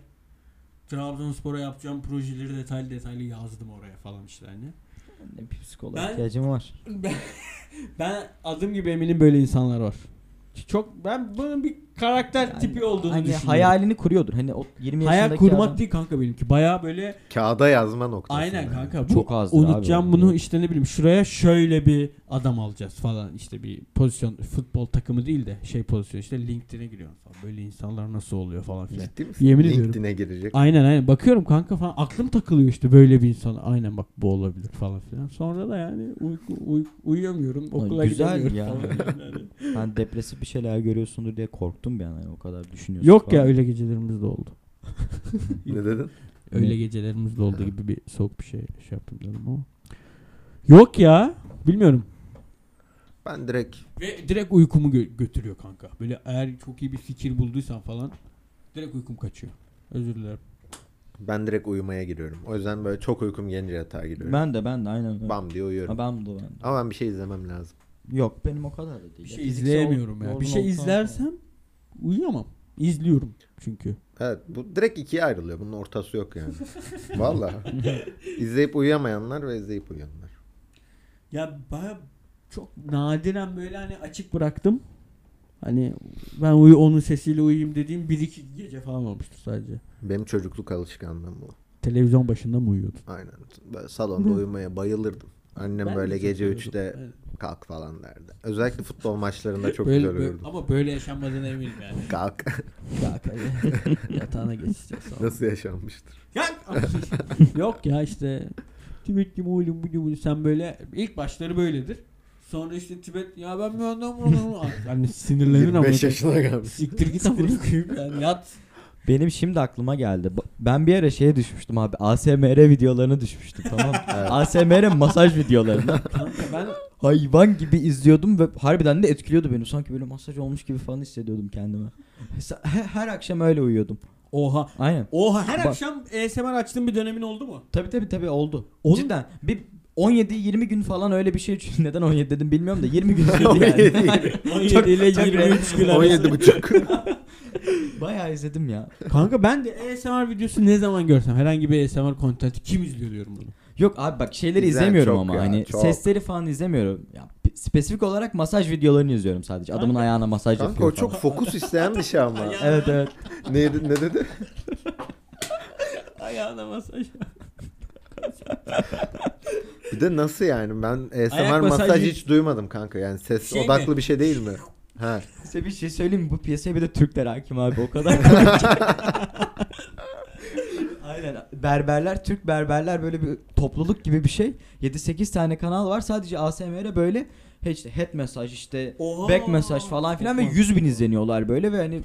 [SPEAKER 2] Trabzonspor'a yapacağım projeleri detaylı detaylı yazdım oraya falan işte hani.
[SPEAKER 4] bir psikoloğa
[SPEAKER 2] Ben-
[SPEAKER 4] ihtiyacım var.
[SPEAKER 2] Ben adım gibi eminim böyle insanlar var. Çok ben bunun bir karakter
[SPEAKER 4] Yani
[SPEAKER 2] tipi olduğunu
[SPEAKER 4] hani
[SPEAKER 2] düşünüyorum.
[SPEAKER 4] hayalini kuruyordur. Hani o 20 yaşındaki
[SPEAKER 2] Hayal kurmak
[SPEAKER 4] adam-
[SPEAKER 2] değil kanka benimki. Baya böyle
[SPEAKER 3] Kağıda yazma noktası.
[SPEAKER 2] aynen
[SPEAKER 3] yani.
[SPEAKER 2] kanka. Bu
[SPEAKER 4] Çok azdır
[SPEAKER 2] unutacağım
[SPEAKER 4] abi.
[SPEAKER 2] bunu işte ne bileyim şuraya şöyle bir adam alacağız falan işte bir pozisyon futbol takımı değil de şey pozisyon işte LinkedIn'e giriyorsun falan. Böyle insanlar nasıl oluyor falan filan.
[SPEAKER 3] Ciddi misin?
[SPEAKER 2] Yemin ediyorum.
[SPEAKER 3] LinkedIn'e girecek.
[SPEAKER 2] Aynen aynen bakıyorum kanka falan aklım takılıyor işte böyle bir insan aynen bak bu olabilir falan filan. Sonra da yani uyku, uy- uyuyamıyorum okula
[SPEAKER 4] Ay, güzel
[SPEAKER 2] gidemiyorum
[SPEAKER 4] ya.
[SPEAKER 2] falan. Yani.
[SPEAKER 4] Hani depresif bir şeyler görüyorsundur diye korktum bir an. Hani o kadar düşünüyorsun.
[SPEAKER 2] Yok
[SPEAKER 4] falan.
[SPEAKER 2] ya öyle gecelerimiz de oldu.
[SPEAKER 3] Ne dedin?
[SPEAKER 2] Öyle
[SPEAKER 4] Ne?
[SPEAKER 2] gecelerimiz de oldu gibi bir soğuk bir şey şey yaptım dedim ama. Yok ya bilmiyorum.
[SPEAKER 3] Ben direkt
[SPEAKER 2] Ve direkt uykumu gö- götürüyor kanka. Böyle eğer çok iyi bir fikir bulduysan falan direkt uykum kaçıyor. Özür dilerim.
[SPEAKER 3] ben direkt uyumaya giriyorum. O yüzden böyle çok uykum gelince yatağa giriyorum.
[SPEAKER 4] Ben de ben de aynen öyle.
[SPEAKER 3] Bam diye uyuyorum.
[SPEAKER 4] Ha, ben de ben de.
[SPEAKER 3] Ama ben bir şey izlemem lazım.
[SPEAKER 4] Yok benim o kadar da değil.
[SPEAKER 2] Bir
[SPEAKER 4] Ya,
[SPEAKER 2] şey
[SPEAKER 4] fiziksel
[SPEAKER 2] izleyemiyorum ya.
[SPEAKER 4] ol-
[SPEAKER 2] Bir
[SPEAKER 4] yorgun
[SPEAKER 2] şey
[SPEAKER 4] olduktan sonra.
[SPEAKER 2] izlersem uyuyamam. İzliyorum çünkü.
[SPEAKER 3] Evet bu direkt ikiye ayrılıyor. Bunun ortası yok yani. Valla. izleyip uyuyamayanlar ve izleyip uyuyanlar.
[SPEAKER 2] Ya baya çok nadiren böyle hani açık bıraktım. Hani ben uyu onun sesiyle uyuyayım dediğim bir iki gece falan olmuştu sadece.
[SPEAKER 3] Benim çocukluk alışkanlığım bu.
[SPEAKER 2] Televizyon başında mı uyuyordun?
[SPEAKER 3] Aynen. Böyle salonda uyumaya bayılırdım. Annem
[SPEAKER 2] Ben de
[SPEAKER 3] böyle
[SPEAKER 2] çok
[SPEAKER 3] gece
[SPEAKER 2] uyuyordum.
[SPEAKER 3] 3'te
[SPEAKER 2] Evet.
[SPEAKER 3] kalk falan derdi. Özellikle futbol maçlarında çok
[SPEAKER 2] böyle,
[SPEAKER 3] güzel
[SPEAKER 2] böyle-
[SPEAKER 3] uyurdum.
[SPEAKER 2] ama böyle yaşanmadığına eminim yani.
[SPEAKER 3] Kalk.
[SPEAKER 2] Kalk Yatağına geçeceğiz sonra.
[SPEAKER 3] Nasıl yaşanmıştır?
[SPEAKER 2] Yok ya işte Tibet kim oğlum bu gibi sen böyle ilk başları böyledir. Sonra işte Tibet ya ben bir adam olurum. Yani sinirlenir ama.
[SPEAKER 3] 25 yaşına gelmiş.
[SPEAKER 2] Siktir git amına koyayım yani yat.
[SPEAKER 4] Benim şimdi aklıma geldi. Ba- Ben bir ara şeye düşmüştüm abi. ASMR videolarına düşmüştüm tamam. mı?
[SPEAKER 3] Evet.
[SPEAKER 4] ASMR masaj videolarına.
[SPEAKER 2] Kanka ben
[SPEAKER 4] Hayvan gibi izliyordum ve harbiden de etkiliyordu beni. Sanki böyle masaj olmuş gibi falan hissediyordum kendime. Sa- he- Her akşam öyle uyuyordum.
[SPEAKER 2] oha
[SPEAKER 4] Aynen.
[SPEAKER 2] Oha her
[SPEAKER 4] Bak-
[SPEAKER 2] akşam ASMR açtığın bir dönemin oldu mu?
[SPEAKER 4] Tabi tabi tabi oldu.
[SPEAKER 2] Oğlum-
[SPEAKER 4] Cidden bir 17-20 gün falan öyle bir şey için neden 17 dedim bilmiyorum da 20 gün sürdü yani.
[SPEAKER 2] 17 ile
[SPEAKER 4] çok
[SPEAKER 2] 23 gün arası.
[SPEAKER 3] 17 buçuk.
[SPEAKER 4] Bayağı izledim ya.
[SPEAKER 2] Kanka ben de ASMR videosu ne zaman görsem herhangi bir ASMR kontenti kim izliyor diyorum bunu.
[SPEAKER 4] Yok abi bak şeyleri
[SPEAKER 3] Güzel,
[SPEAKER 4] izlemiyorum
[SPEAKER 3] çok
[SPEAKER 4] ama
[SPEAKER 3] ya,
[SPEAKER 4] hani
[SPEAKER 3] çok.
[SPEAKER 4] sesleri falan izlemiyorum. Ya, p- spesifik olarak masaj videolarını izliyorum sadece. Adamın ayağına masaj
[SPEAKER 3] Kanka
[SPEAKER 4] yapıyor
[SPEAKER 3] o çok
[SPEAKER 4] falan.
[SPEAKER 3] fokus isteyen bir şey ama.
[SPEAKER 2] Ayağı-
[SPEAKER 4] Evet evet.
[SPEAKER 3] ne, ne dedi?
[SPEAKER 2] Ayağına masaj.
[SPEAKER 3] Bir de nasıl yani? Ben ASMR
[SPEAKER 2] Ayak
[SPEAKER 3] masaj,
[SPEAKER 2] masajı-
[SPEAKER 3] hiç duymadım kanka. Yani ses
[SPEAKER 2] Şey mi?
[SPEAKER 3] odaklı bir şey değil mi? Ha.
[SPEAKER 4] Size bir şey söyleyeyim mi? Bu piyasaya bir de Türkler hakim abi o kadar. Aynen. Berberler, Türk berberler böyle bir topluluk gibi bir şey. 7-8 tane kanal var. Sadece ASMR'e böyle he işte head mesaj işte
[SPEAKER 2] Oha.
[SPEAKER 4] back mesaj falan filan ve 100 bin izleniyorlar böyle ve hani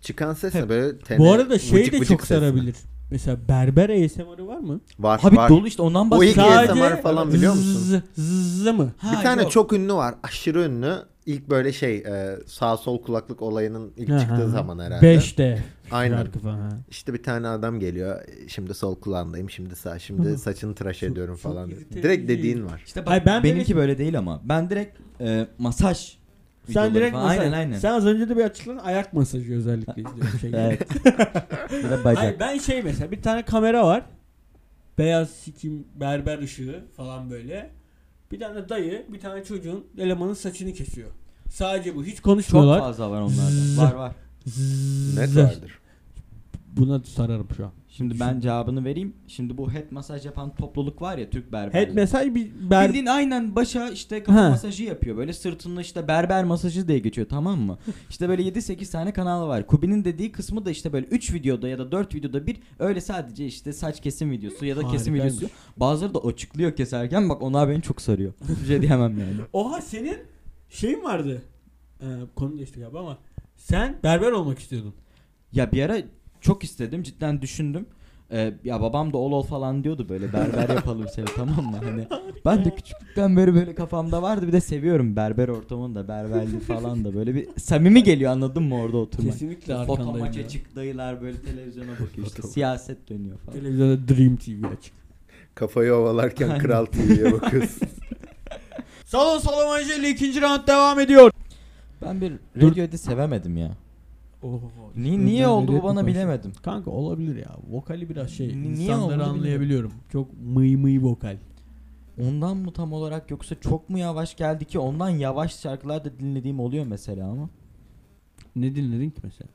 [SPEAKER 3] Çıkan ses ne böyle? Tene,
[SPEAKER 2] Bu arada şey
[SPEAKER 3] vıcık
[SPEAKER 2] de
[SPEAKER 3] vıcık
[SPEAKER 2] çok
[SPEAKER 3] ses.
[SPEAKER 2] sarabilir. Mesela berber ASMR'ı var mı?
[SPEAKER 3] Var
[SPEAKER 4] abi
[SPEAKER 3] var.
[SPEAKER 4] dolu işte ondan
[SPEAKER 3] O ilk
[SPEAKER 4] bahsediyorum.
[SPEAKER 3] ASMR falan biliyor musun?
[SPEAKER 2] Zzz, zzz mı?
[SPEAKER 4] Ha,
[SPEAKER 3] Bir tane
[SPEAKER 4] yok.
[SPEAKER 3] çok ünlü var. Aşırı ünlü. İlk böyle şey e, sağ sol kulaklık olayının ilk
[SPEAKER 2] Aha.
[SPEAKER 3] çıktığı zaman herhalde.
[SPEAKER 2] 5'te.
[SPEAKER 3] Aynen.
[SPEAKER 2] Şarkı falan. ha.
[SPEAKER 3] İşte bir tane adam geliyor. e, Şimdi sol kulağındayım, şimdi sağ, şimdi saçını tıraş ediyorum
[SPEAKER 2] çok
[SPEAKER 3] falan.
[SPEAKER 2] irrite
[SPEAKER 3] Direkt
[SPEAKER 2] edici.
[SPEAKER 3] dediğin var.
[SPEAKER 4] İşte
[SPEAKER 2] Hayır,
[SPEAKER 4] bak,
[SPEAKER 2] ben
[SPEAKER 4] benimki böyle değil ama. Ben direkt e, masaj
[SPEAKER 2] Sen
[SPEAKER 4] videoları
[SPEAKER 2] direkt
[SPEAKER 4] falan-
[SPEAKER 2] masaj.
[SPEAKER 4] Aynen aynen.
[SPEAKER 2] Sen az önce de bir açıkladın ayak masajı özellikle izliyorum. Şey gibi.
[SPEAKER 4] Evet. Bir de bacak.
[SPEAKER 2] Hayır ben şey mesela bir tane kamera var. Beyaz sikim berber ışığı falan böyle. Bir tane dayı bir tane çocuğun elemanın saçını kesiyor. Sadece bu hiç
[SPEAKER 4] çok
[SPEAKER 2] konuşmuyorlar.
[SPEAKER 4] fazla var
[SPEAKER 2] Zzz.
[SPEAKER 4] onlarda. Var var.
[SPEAKER 3] Net
[SPEAKER 2] Net
[SPEAKER 3] vardır.
[SPEAKER 2] Buna sararım şu an.
[SPEAKER 4] Şimdi ben cevabını vereyim. Şimdi bu head masaj yapan topluluk var ya Türk berberleri.
[SPEAKER 2] Head mesaj bir ber
[SPEAKER 4] Bildiğin aynen başa işte kafa
[SPEAKER 2] Ha.
[SPEAKER 4] masajı yapıyor. Böyle sırtında işte berber masajı diye geçiyor tamam mı? işte böyle 7-8 tane kanal var. Kubi'nin dediği kısmı da işte böyle 3 videoda ya da 4 videoda bir öyle sadece işte saç kesim videosu ya da kesim
[SPEAKER 2] Harikaymış.
[SPEAKER 4] videosu. Bazıları da açıklıyor keserken bak onlar beni çok sarıyor. Bir şey diyemem yani.
[SPEAKER 2] Oha senin şeyin vardı. Ee, konu değişti galiba ama sen berber olmak istiyordun.
[SPEAKER 4] Ya bir ara çok istedim cidden düşündüm. Ee, ya babam da ol ol falan diyordu böyle berber yapalım seni tamam mı? Hani ben de küçüklükten beri böyle kafamda vardı bir de seviyorum berber ortamını da berberliği falan da böyle bir samimi geliyor anladın mı orada oturmak.
[SPEAKER 2] Kesinlikle
[SPEAKER 4] İşte Foto
[SPEAKER 2] arkandayım.
[SPEAKER 4] maça
[SPEAKER 2] ya.
[SPEAKER 4] çık dayılar böyle televizyona bakıyor işte
[SPEAKER 3] Foto-
[SPEAKER 4] siyaset dönüyor falan.
[SPEAKER 2] Televizyonda Dream TV açık.
[SPEAKER 3] Kafayı ovalarken Kral TV'ye bakıyorsun.
[SPEAKER 2] Salon Salon ile ikinci round devam ediyor.
[SPEAKER 4] Ben bir
[SPEAKER 2] Dur.
[SPEAKER 4] radyoyu sevemedim ya.
[SPEAKER 2] Oho.
[SPEAKER 4] Ni- niye
[SPEAKER 2] Ben
[SPEAKER 4] oldu
[SPEAKER 2] Radiohead'i
[SPEAKER 4] bu bana
[SPEAKER 2] konuştum.
[SPEAKER 4] bilemedim.
[SPEAKER 2] Kanka olabilir ya. Vokali biraz şey.
[SPEAKER 4] Ni- niye oldu
[SPEAKER 2] İnsanları
[SPEAKER 4] bilmiyorum.
[SPEAKER 2] anlayabiliyorum. Çok mıy mıy vokal.
[SPEAKER 4] Ondan mı tam olarak yoksa çok mu yavaş geldi ki ondan yavaş şarkılar da dinlediğim oluyor mesela ama.
[SPEAKER 2] Ne dinledin ki mesela?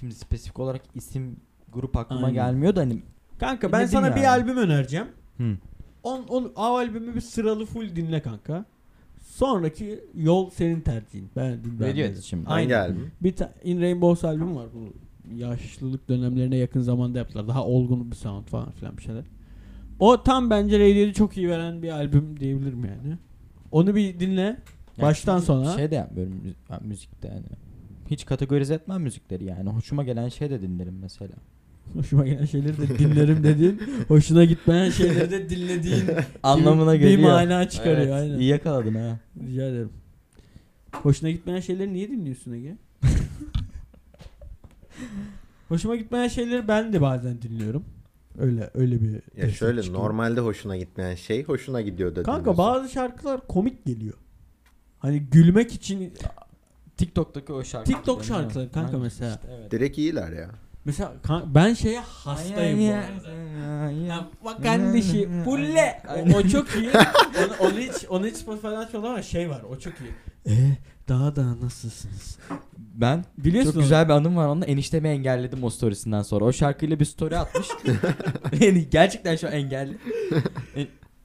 [SPEAKER 4] Şimdi spesifik olarak isim grup aklıma
[SPEAKER 2] Aynen.
[SPEAKER 4] gelmiyor da hani
[SPEAKER 2] Kanka
[SPEAKER 4] Ne
[SPEAKER 2] ben sana bir
[SPEAKER 4] dinler?
[SPEAKER 2] albüm önereceğim.
[SPEAKER 4] Hı.
[SPEAKER 2] On, on, o albümü bir sıralı full dinle kanka. Sonraki yol senin tercihin. Ben dinlerim.
[SPEAKER 4] Radiohead için mi?
[SPEAKER 2] Aynen.
[SPEAKER 3] Hangi albüm?
[SPEAKER 2] Bir ta- In Rainbows albüm var bu. Yaşlılık dönemlerine yakın zamanda yaptılar. Daha olgun bir sound falan filan bir şeyler. O tam bence Radiohead'i çok iyi veren bir albüm diyebilirim yani. Onu bir dinle.
[SPEAKER 4] Yani
[SPEAKER 2] Baştan
[SPEAKER 4] çünkü
[SPEAKER 2] sona.
[SPEAKER 4] Şey de yapmıyorum müzi- ha, müzikte yani. Hiç kategorize etmem müzikleri yani. Hoşuma gelen şey de dinlerim mesela.
[SPEAKER 2] Hoşuma gelen şeyleri de dinlerim dediğin, hoşuna gitmeyen şeyleri de dinlediğin
[SPEAKER 4] Anlamına
[SPEAKER 2] gibi
[SPEAKER 4] geliyor.
[SPEAKER 2] bir mana çıkarıyor
[SPEAKER 4] Evet,
[SPEAKER 2] aynen.
[SPEAKER 4] İyi yakaladın ha.
[SPEAKER 2] Rica ederim. Hoşuna gitmeyen şeyleri niye dinliyorsun Ege? Hoşuma gitmeyen şeyleri ben de bazen dinliyorum. Öyle öyle bir
[SPEAKER 3] Ya
[SPEAKER 2] destek
[SPEAKER 3] şöyle
[SPEAKER 2] çıkıyor.
[SPEAKER 3] normalde hoşuna gitmeyen şey hoşuna gidiyor da
[SPEAKER 2] Kanka
[SPEAKER 3] dinliyorsun.
[SPEAKER 2] bazı şarkılar komik geliyor. Hani gülmek için
[SPEAKER 4] TikTok'taki o şarkı.
[SPEAKER 2] TikTok şarkıları kanka mesela.
[SPEAKER 4] evet.
[SPEAKER 3] Direkt iyiler ya.
[SPEAKER 2] mesela kan- ben şeye hastayım bu arada. Ya bak kardeşi bulle. O, o çok iyi. onu, onu hiç onu hiç Spotify'dan açmadım ama şey var. O çok iyi. Eee daha da nasılsınız?
[SPEAKER 4] Ben
[SPEAKER 2] Biliyorsun
[SPEAKER 4] çok güzel bir anım var onunla eniştemi engelledim o storiesinden sonra. O şarkıyla bir story atmış. yani gerçekten şu an engelli.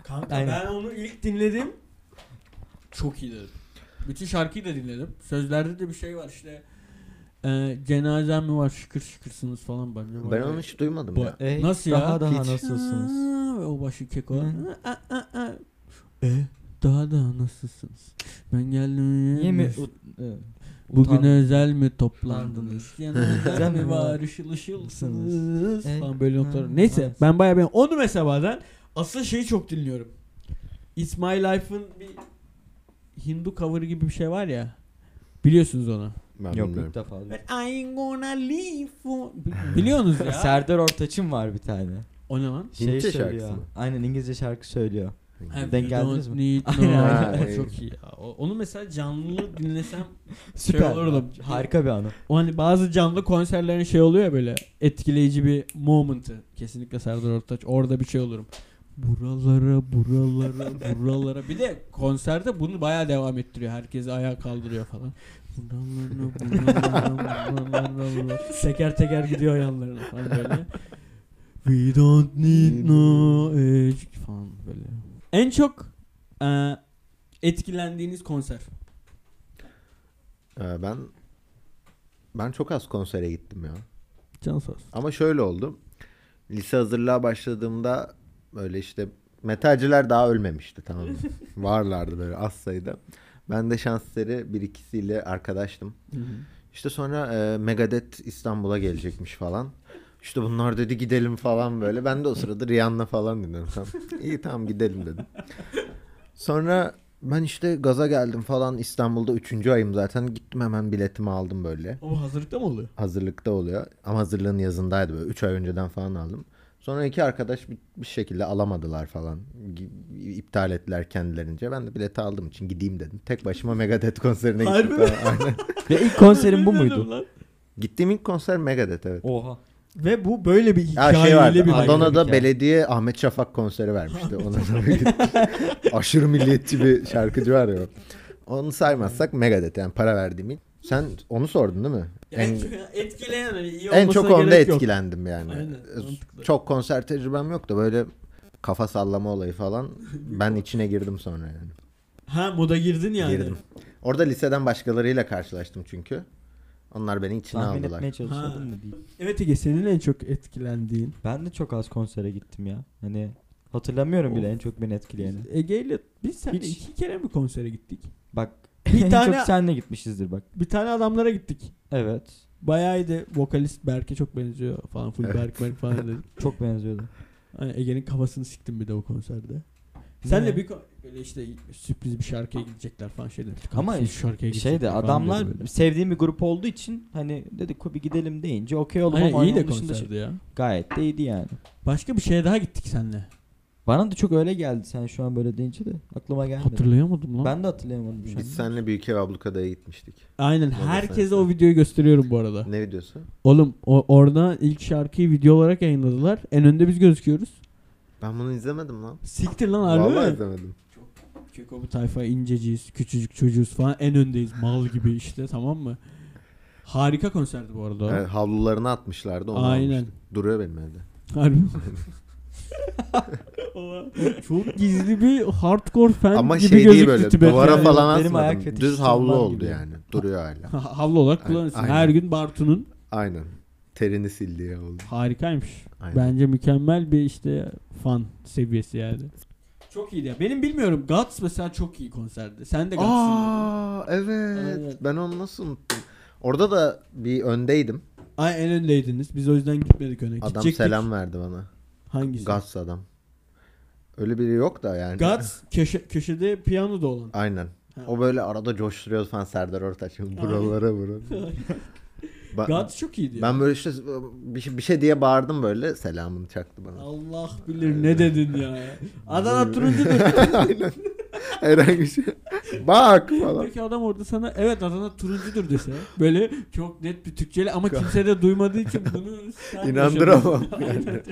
[SPEAKER 2] Kanka
[SPEAKER 4] Aynen.
[SPEAKER 2] ben onu ilk dinledim. Çok iyi dedim. Bütün şarkıyı da dinledim. Sözlerde de bir şey var işte. E, cenazem mi var şıkır şıkırsınız falan bence.
[SPEAKER 3] Ben onu hiç duymadım
[SPEAKER 2] Bu-
[SPEAKER 3] ya.
[SPEAKER 4] Ey,
[SPEAKER 2] Nasıl
[SPEAKER 4] E, daha
[SPEAKER 2] ya?
[SPEAKER 4] daha
[SPEAKER 3] Hiç.
[SPEAKER 4] nasılsınız?
[SPEAKER 2] Aa, O başı keko.
[SPEAKER 4] Hı.
[SPEAKER 2] Aa, aa, aa. E daha daha nasılsınız? Ben geldim.
[SPEAKER 4] Niye mi? Ee,
[SPEAKER 2] Bugün
[SPEAKER 4] Utan-
[SPEAKER 2] özel mi toplandınız? Yanınızda
[SPEAKER 4] Can
[SPEAKER 2] mi
[SPEAKER 4] mı
[SPEAKER 2] var
[SPEAKER 4] var?
[SPEAKER 2] ışıl ışılsınız?
[SPEAKER 4] E,
[SPEAKER 2] Falan böyle noktalar.
[SPEAKER 4] ha,
[SPEAKER 2] Neyse
[SPEAKER 4] maalesef.
[SPEAKER 2] ben bayağı ben onu mesela bazen asıl şeyi çok dinliyorum. It's My Life'ın bir Hindu cover gibi bir şey var ya. Biliyorsunuz onu.
[SPEAKER 3] Ben
[SPEAKER 4] Yok
[SPEAKER 3] bilmiyorum.
[SPEAKER 4] ilk defa. duydum.
[SPEAKER 2] I ain't gonna leave for... Bi- Biliyorsunuz ya.
[SPEAKER 4] Serdar Ortaç'ın var bir tane.
[SPEAKER 2] o ne lan?
[SPEAKER 4] Şey
[SPEAKER 3] Hintçe
[SPEAKER 4] söylüyor.
[SPEAKER 3] şarkısı mı?
[SPEAKER 4] Aynen İngilizce şarkı söylüyor.
[SPEAKER 2] Have
[SPEAKER 4] Denk
[SPEAKER 2] you
[SPEAKER 4] geldiniz
[SPEAKER 2] don't
[SPEAKER 4] mi?
[SPEAKER 2] need no-
[SPEAKER 4] Aynen,
[SPEAKER 3] aynen.
[SPEAKER 2] O çok iyi. ya. O- Onu mesela canlı dinlesem
[SPEAKER 4] Süper.
[SPEAKER 2] olurdu.
[SPEAKER 4] Harika bir anı.
[SPEAKER 2] O hani bazı canlı konserlerin şey oluyor ya böyle etkileyici bir moment'ı. Kesinlikle Serdar Ortaç. Orada bir şey olurum. Buralara, buralara, buralara. Bir de konserde bunu bayağı devam ettiriyor. Herkesi ayağa kaldırıyor falan. Buralara, buralara, buralara, buralara. Teker teker gidiyor yanlarına falan böyle. We don't need no age falan böyle. En çok e, etkilendiğiniz konser.
[SPEAKER 3] Ee, ben ben çok az konsere gittim ya.
[SPEAKER 2] Can sağ olsun.
[SPEAKER 3] Ama şöyle oldu. Lise hazırlığa başladığımda böyle işte metalciler daha ölmemişti tamam mı? Varlardı böyle az sayıda. Ben de şansları bir ikisiyle arkadaştım. İşte sonra e, Megadeth İstanbul'a gelecekmiş falan. İşte bunlar dedi gidelim falan böyle. Ben de o sırada Rihanna falan dinledim. Tamam. İyi tamam gidelim dedim. Sonra ben işte gaza geldim falan İstanbul'da 3. ayım zaten. Gittim hemen biletimi aldım böyle.
[SPEAKER 2] O hazırlıkta mı oluyor?
[SPEAKER 3] Hazırlıkta oluyor. Ama hazırlığın yazındaydı böyle. 3 ay önceden falan aldım. Sonra iki arkadaş bir, bir şekilde alamadılar falan. Gi- İptal ettiler kendilerince. Ben de bileti aldığım için gideyim dedim. Tek başıma Megadeth konserine gittim.
[SPEAKER 2] Harbi mi?
[SPEAKER 3] falan. Aynen.
[SPEAKER 4] Ve ilk konserin bu muydu?
[SPEAKER 2] Bilmiyorum lan.
[SPEAKER 3] Gittiğim ilk konser Megadeth evet.
[SPEAKER 4] Oha.
[SPEAKER 2] Ve bu böyle bir
[SPEAKER 3] Ya
[SPEAKER 2] hikayeli
[SPEAKER 3] şey vardı.
[SPEAKER 2] bir
[SPEAKER 3] Adana'da
[SPEAKER 4] hikaye.
[SPEAKER 3] belediye Ahmet Şafak konseri vermişti. Ona sonra gittim. Aşırı milliyetçi bir şarkıcı var ya. Onu saymazsak Megadeth yani para verdiğim ilk. Sen onu sordun değil mi? En,
[SPEAKER 2] Yani etkileyen hani iyi
[SPEAKER 3] en
[SPEAKER 2] olmasına
[SPEAKER 3] çok onda
[SPEAKER 2] gerek yok.
[SPEAKER 3] etkilendim yani.
[SPEAKER 2] Aynen,
[SPEAKER 3] Ee,
[SPEAKER 2] mantıklı.
[SPEAKER 3] Çok konser tecrübem yok da böyle kafa sallama olayı falan ben içine girdim sonra yani.
[SPEAKER 2] Ha moda girdin yani.
[SPEAKER 3] Girdim. Orada liseden başkalarıyla karşılaştım çünkü. Onlar beni içine
[SPEAKER 4] Tahmin
[SPEAKER 3] aldılar.
[SPEAKER 4] etmeye
[SPEAKER 2] Ha.
[SPEAKER 4] çalışıyordum da değil.
[SPEAKER 2] Evet Ege senin en çok etkilendiğin.
[SPEAKER 4] Ben de çok az konsere gittim ya. Hani hatırlamıyorum bile en çok beni etkileyeni.
[SPEAKER 2] Ege ile biz seninle
[SPEAKER 4] Hiç.
[SPEAKER 2] iki kere mi konsere gittik?
[SPEAKER 4] Bak
[SPEAKER 2] Bir
[SPEAKER 4] en
[SPEAKER 2] tane-
[SPEAKER 4] çok senle gitmişizdir bak.
[SPEAKER 2] Bir tane adamlara gittik.
[SPEAKER 4] Evet.
[SPEAKER 2] Bayağı iyiydi. Vokalist Berk'e çok benziyor falan. Full
[SPEAKER 3] Evet.
[SPEAKER 2] Berk Berk falan dedik.
[SPEAKER 4] Çok benziyordu.
[SPEAKER 2] Hani Ege'nin kafasını siktim bir de o konserde. Senle
[SPEAKER 4] Ne?
[SPEAKER 2] bir ko- böyle işte sürpriz bir şarkıya gidecekler falan şey dedik.
[SPEAKER 4] Ama
[SPEAKER 2] Kafasını şarkıya
[SPEAKER 4] Şey de
[SPEAKER 2] gidecekler falan dedi
[SPEAKER 4] adamlar
[SPEAKER 2] böyle.
[SPEAKER 4] sevdiğim bir grup olduğu için hani dedik "Ko bir gidelim deyince okey oldum
[SPEAKER 2] Aynen,
[SPEAKER 4] ama
[SPEAKER 2] iyi de
[SPEAKER 4] onun dışında
[SPEAKER 2] konserdi ya.
[SPEAKER 4] şey- gayet de iyiydi yani.
[SPEAKER 2] Başka bir şeye daha gittik senle.
[SPEAKER 4] Bana da çok öyle geldi sen şu an böyle deyince de aklıma gelmedi.
[SPEAKER 2] Hatırlayamadım lan.
[SPEAKER 4] Ben de hatırlayamadım şu an.
[SPEAKER 3] Biz seninle Büyük Ev Ablukada'ya gitmiştik.
[SPEAKER 2] Aynen
[SPEAKER 3] Moda
[SPEAKER 2] herkese
[SPEAKER 3] sensin.
[SPEAKER 2] o videoyu gösteriyorum bu arada.
[SPEAKER 3] Ne videosu?
[SPEAKER 2] Oğlum o, orada ilk şarkıyı video olarak yayınladılar. En önde biz gözüküyoruz.
[SPEAKER 3] Ben bunu izlemedim lan.
[SPEAKER 2] Siktir lan
[SPEAKER 3] Vallahi
[SPEAKER 2] harbi mi?
[SPEAKER 3] izlemedim.
[SPEAKER 2] Keko bu tayfa inceciyiz, küçücük çocuğuz falan en öndeyiz mal gibi işte tamam mı? Harika konserdi bu arada. o.
[SPEAKER 3] Yani havlularını atmışlardı. Onu
[SPEAKER 2] Aynen.
[SPEAKER 3] Aynen. Duruyor benim evde.
[SPEAKER 2] Harbi. Çok gizli bir hardcore fan
[SPEAKER 3] Ama
[SPEAKER 2] gibi
[SPEAKER 3] şey değil
[SPEAKER 2] gözüktü
[SPEAKER 3] böyle
[SPEAKER 2] Tibet
[SPEAKER 3] duvara
[SPEAKER 2] yani.
[SPEAKER 3] falan
[SPEAKER 4] Benim ayak
[SPEAKER 3] asmadım.
[SPEAKER 4] fetişi
[SPEAKER 3] Düz havlu
[SPEAKER 4] falan
[SPEAKER 3] oldu
[SPEAKER 4] gibi.
[SPEAKER 3] yani. Duruyor hala.
[SPEAKER 2] Ha- Havlu olarak
[SPEAKER 3] Aynen,
[SPEAKER 2] kullanırsın.
[SPEAKER 3] aynen.
[SPEAKER 2] Her gün Bartu'nun
[SPEAKER 3] Aynen. Terini sildiği oldu.
[SPEAKER 2] harikaymış.
[SPEAKER 3] Aynen.
[SPEAKER 2] Bence mükemmel bir işte fan seviyesi yani. Çok iyiydi ya. Benim bilmiyorum Guts mesela çok iyi konserdi. Sen de Guts'ın.
[SPEAKER 3] Aa evet.
[SPEAKER 2] Evet.
[SPEAKER 3] Ben onu nasıl unuttum? Orada da bir öndeydim.
[SPEAKER 2] Ay en öndeydiniz. Biz o yüzden gitmedik öne.
[SPEAKER 3] Adam
[SPEAKER 2] Gidecektik.
[SPEAKER 3] selam verdi bana.
[SPEAKER 2] Hangisi? Guts.
[SPEAKER 3] Guts adam. Öyle biri yok da yani.
[SPEAKER 2] köşe, köşede piyano da olan.
[SPEAKER 3] Aynen.
[SPEAKER 2] Ha.
[SPEAKER 3] O böyle arada coşturuyor falan Serdar Ortaç. Buralara vurun. Ba-
[SPEAKER 2] Guts çok iyiydi. ya.
[SPEAKER 3] ben böyle işte bir şey, bir şey diye bağırdım böyle selamını çaktı bana.
[SPEAKER 2] Allah bilir ne dedin ya. Adana turuncu dedi.
[SPEAKER 3] Aynen. Herhangi bir şey. Bak falan.
[SPEAKER 2] Peki adam orada sana evet Adana turuncudur dese böyle çok net bir Türkçeli ama kimse de duymadığı için bunu sen
[SPEAKER 3] İnandıramam
[SPEAKER 2] yaşamışsın. Aynen, evet.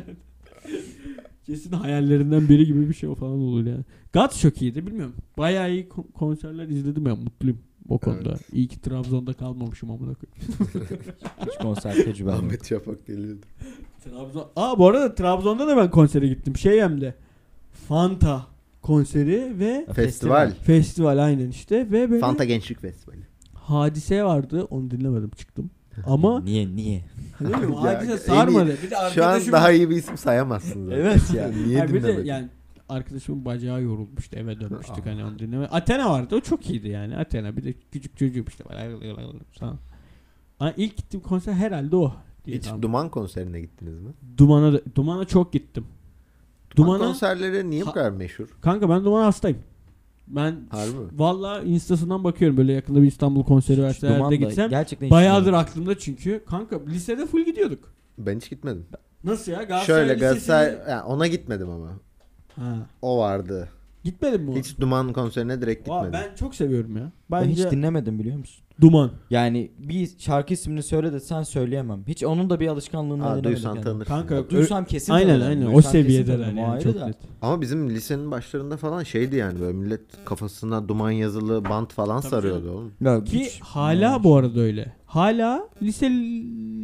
[SPEAKER 2] Kesin hayallerinden biri gibi bir şey o falan olur yani. Guts çok iyiydi bilmiyorum. Bayağı iyi ko- konserler izledim ya mutluyum o konuda. İyi ki Trabzon'da kalmamışım amına koyayım.
[SPEAKER 4] Hiç konser tecrübem yok.
[SPEAKER 3] Ahmet Şafak geliyordu.
[SPEAKER 2] Trabzon. Aa bu arada Trabzon'da da ben konsere gittim. Şey hem de Fanta konseri ve
[SPEAKER 3] Festival.
[SPEAKER 2] festival aynen işte ve böyle
[SPEAKER 3] Fanta Gençlik Festivali.
[SPEAKER 2] hadise vardı. Onu dinlemedim çıktım. Ama
[SPEAKER 4] Niye niye?
[SPEAKER 2] Değil mi? O
[SPEAKER 3] Ya,
[SPEAKER 2] Hadise
[SPEAKER 3] en iyi-
[SPEAKER 2] sarmadı. Bir de
[SPEAKER 3] Şu an
[SPEAKER 2] arkadaşım...
[SPEAKER 3] daha iyi bir isim sayamazsın zaten.
[SPEAKER 4] Evet ya.
[SPEAKER 3] Niye
[SPEAKER 2] Hayır, bir de
[SPEAKER 3] dinlemedin?
[SPEAKER 2] yani arkadaşımın bacağı yorulmuştu eve dönmüştük hani onu dinleme. Atena vardı o çok iyiydi yani Athena bir de küçük çocuğum işte falan. Ama ilk gittiğim konser herhalde o. diye
[SPEAKER 3] Hiç
[SPEAKER 2] tahmin-
[SPEAKER 3] Duman konserine gittiniz mi?
[SPEAKER 2] Dumana da- Dumana çok gittim.
[SPEAKER 3] Duman
[SPEAKER 2] Dumana
[SPEAKER 3] konserleri niye bu
[SPEAKER 2] Ha-
[SPEAKER 3] kadar meşhur?
[SPEAKER 2] kanka ben Dumana hastayım. Ben
[SPEAKER 3] Harbi mi?
[SPEAKER 2] valla instasından bakıyorum böyle yakında bir İstanbul konseri verse
[SPEAKER 4] Duman
[SPEAKER 2] herhalde
[SPEAKER 4] da
[SPEAKER 2] gitsem.
[SPEAKER 4] gerçekten hiç
[SPEAKER 2] Bayağıdır
[SPEAKER 4] bilmiyorum.
[SPEAKER 2] aklımda çünkü. Kanka lisede full gidiyorduk.
[SPEAKER 3] Ben hiç gitmedim.
[SPEAKER 2] Nasıl ya? Galatasaray
[SPEAKER 3] Şöyle Galatasaray
[SPEAKER 2] Lisesi'ni-
[SPEAKER 3] yani ona gitmedim ama.
[SPEAKER 2] Ha.
[SPEAKER 3] O vardı.
[SPEAKER 2] Gitmedin mi? ona?
[SPEAKER 3] Hiç Duman konserine direkt
[SPEAKER 2] Aa,
[SPEAKER 3] gitmedim.
[SPEAKER 2] ben çok seviyorum ya.
[SPEAKER 4] Ben
[SPEAKER 2] Bence
[SPEAKER 4] hiç dinlemedim biliyor musun?
[SPEAKER 2] Duman.
[SPEAKER 4] Yani bir şarkı ismini söyle desen söyleyemem. Hiç onun da bir alışkanlığını
[SPEAKER 3] Aa,
[SPEAKER 4] edinemedim.
[SPEAKER 3] duysan
[SPEAKER 4] yani.
[SPEAKER 3] tanırsın.
[SPEAKER 2] Kanka,
[SPEAKER 3] Bak,
[SPEAKER 4] Duysam kesin
[SPEAKER 2] aynen
[SPEAKER 4] tanırım.
[SPEAKER 2] aynen
[SPEAKER 4] Duysam
[SPEAKER 2] o
[SPEAKER 4] kesin
[SPEAKER 2] seviyedeler
[SPEAKER 4] tanırım. O
[SPEAKER 2] yani
[SPEAKER 4] ayrı
[SPEAKER 2] çok
[SPEAKER 4] da.
[SPEAKER 2] net.
[SPEAKER 3] Ama bizim lisenin başlarında falan şeydi yani böyle millet kafasına duman yazılı bant falan
[SPEAKER 2] Tabii
[SPEAKER 3] sarıyordu oğlum.
[SPEAKER 4] Yok,
[SPEAKER 2] Ki
[SPEAKER 4] hiç-
[SPEAKER 2] hala bu arada öyle. Hala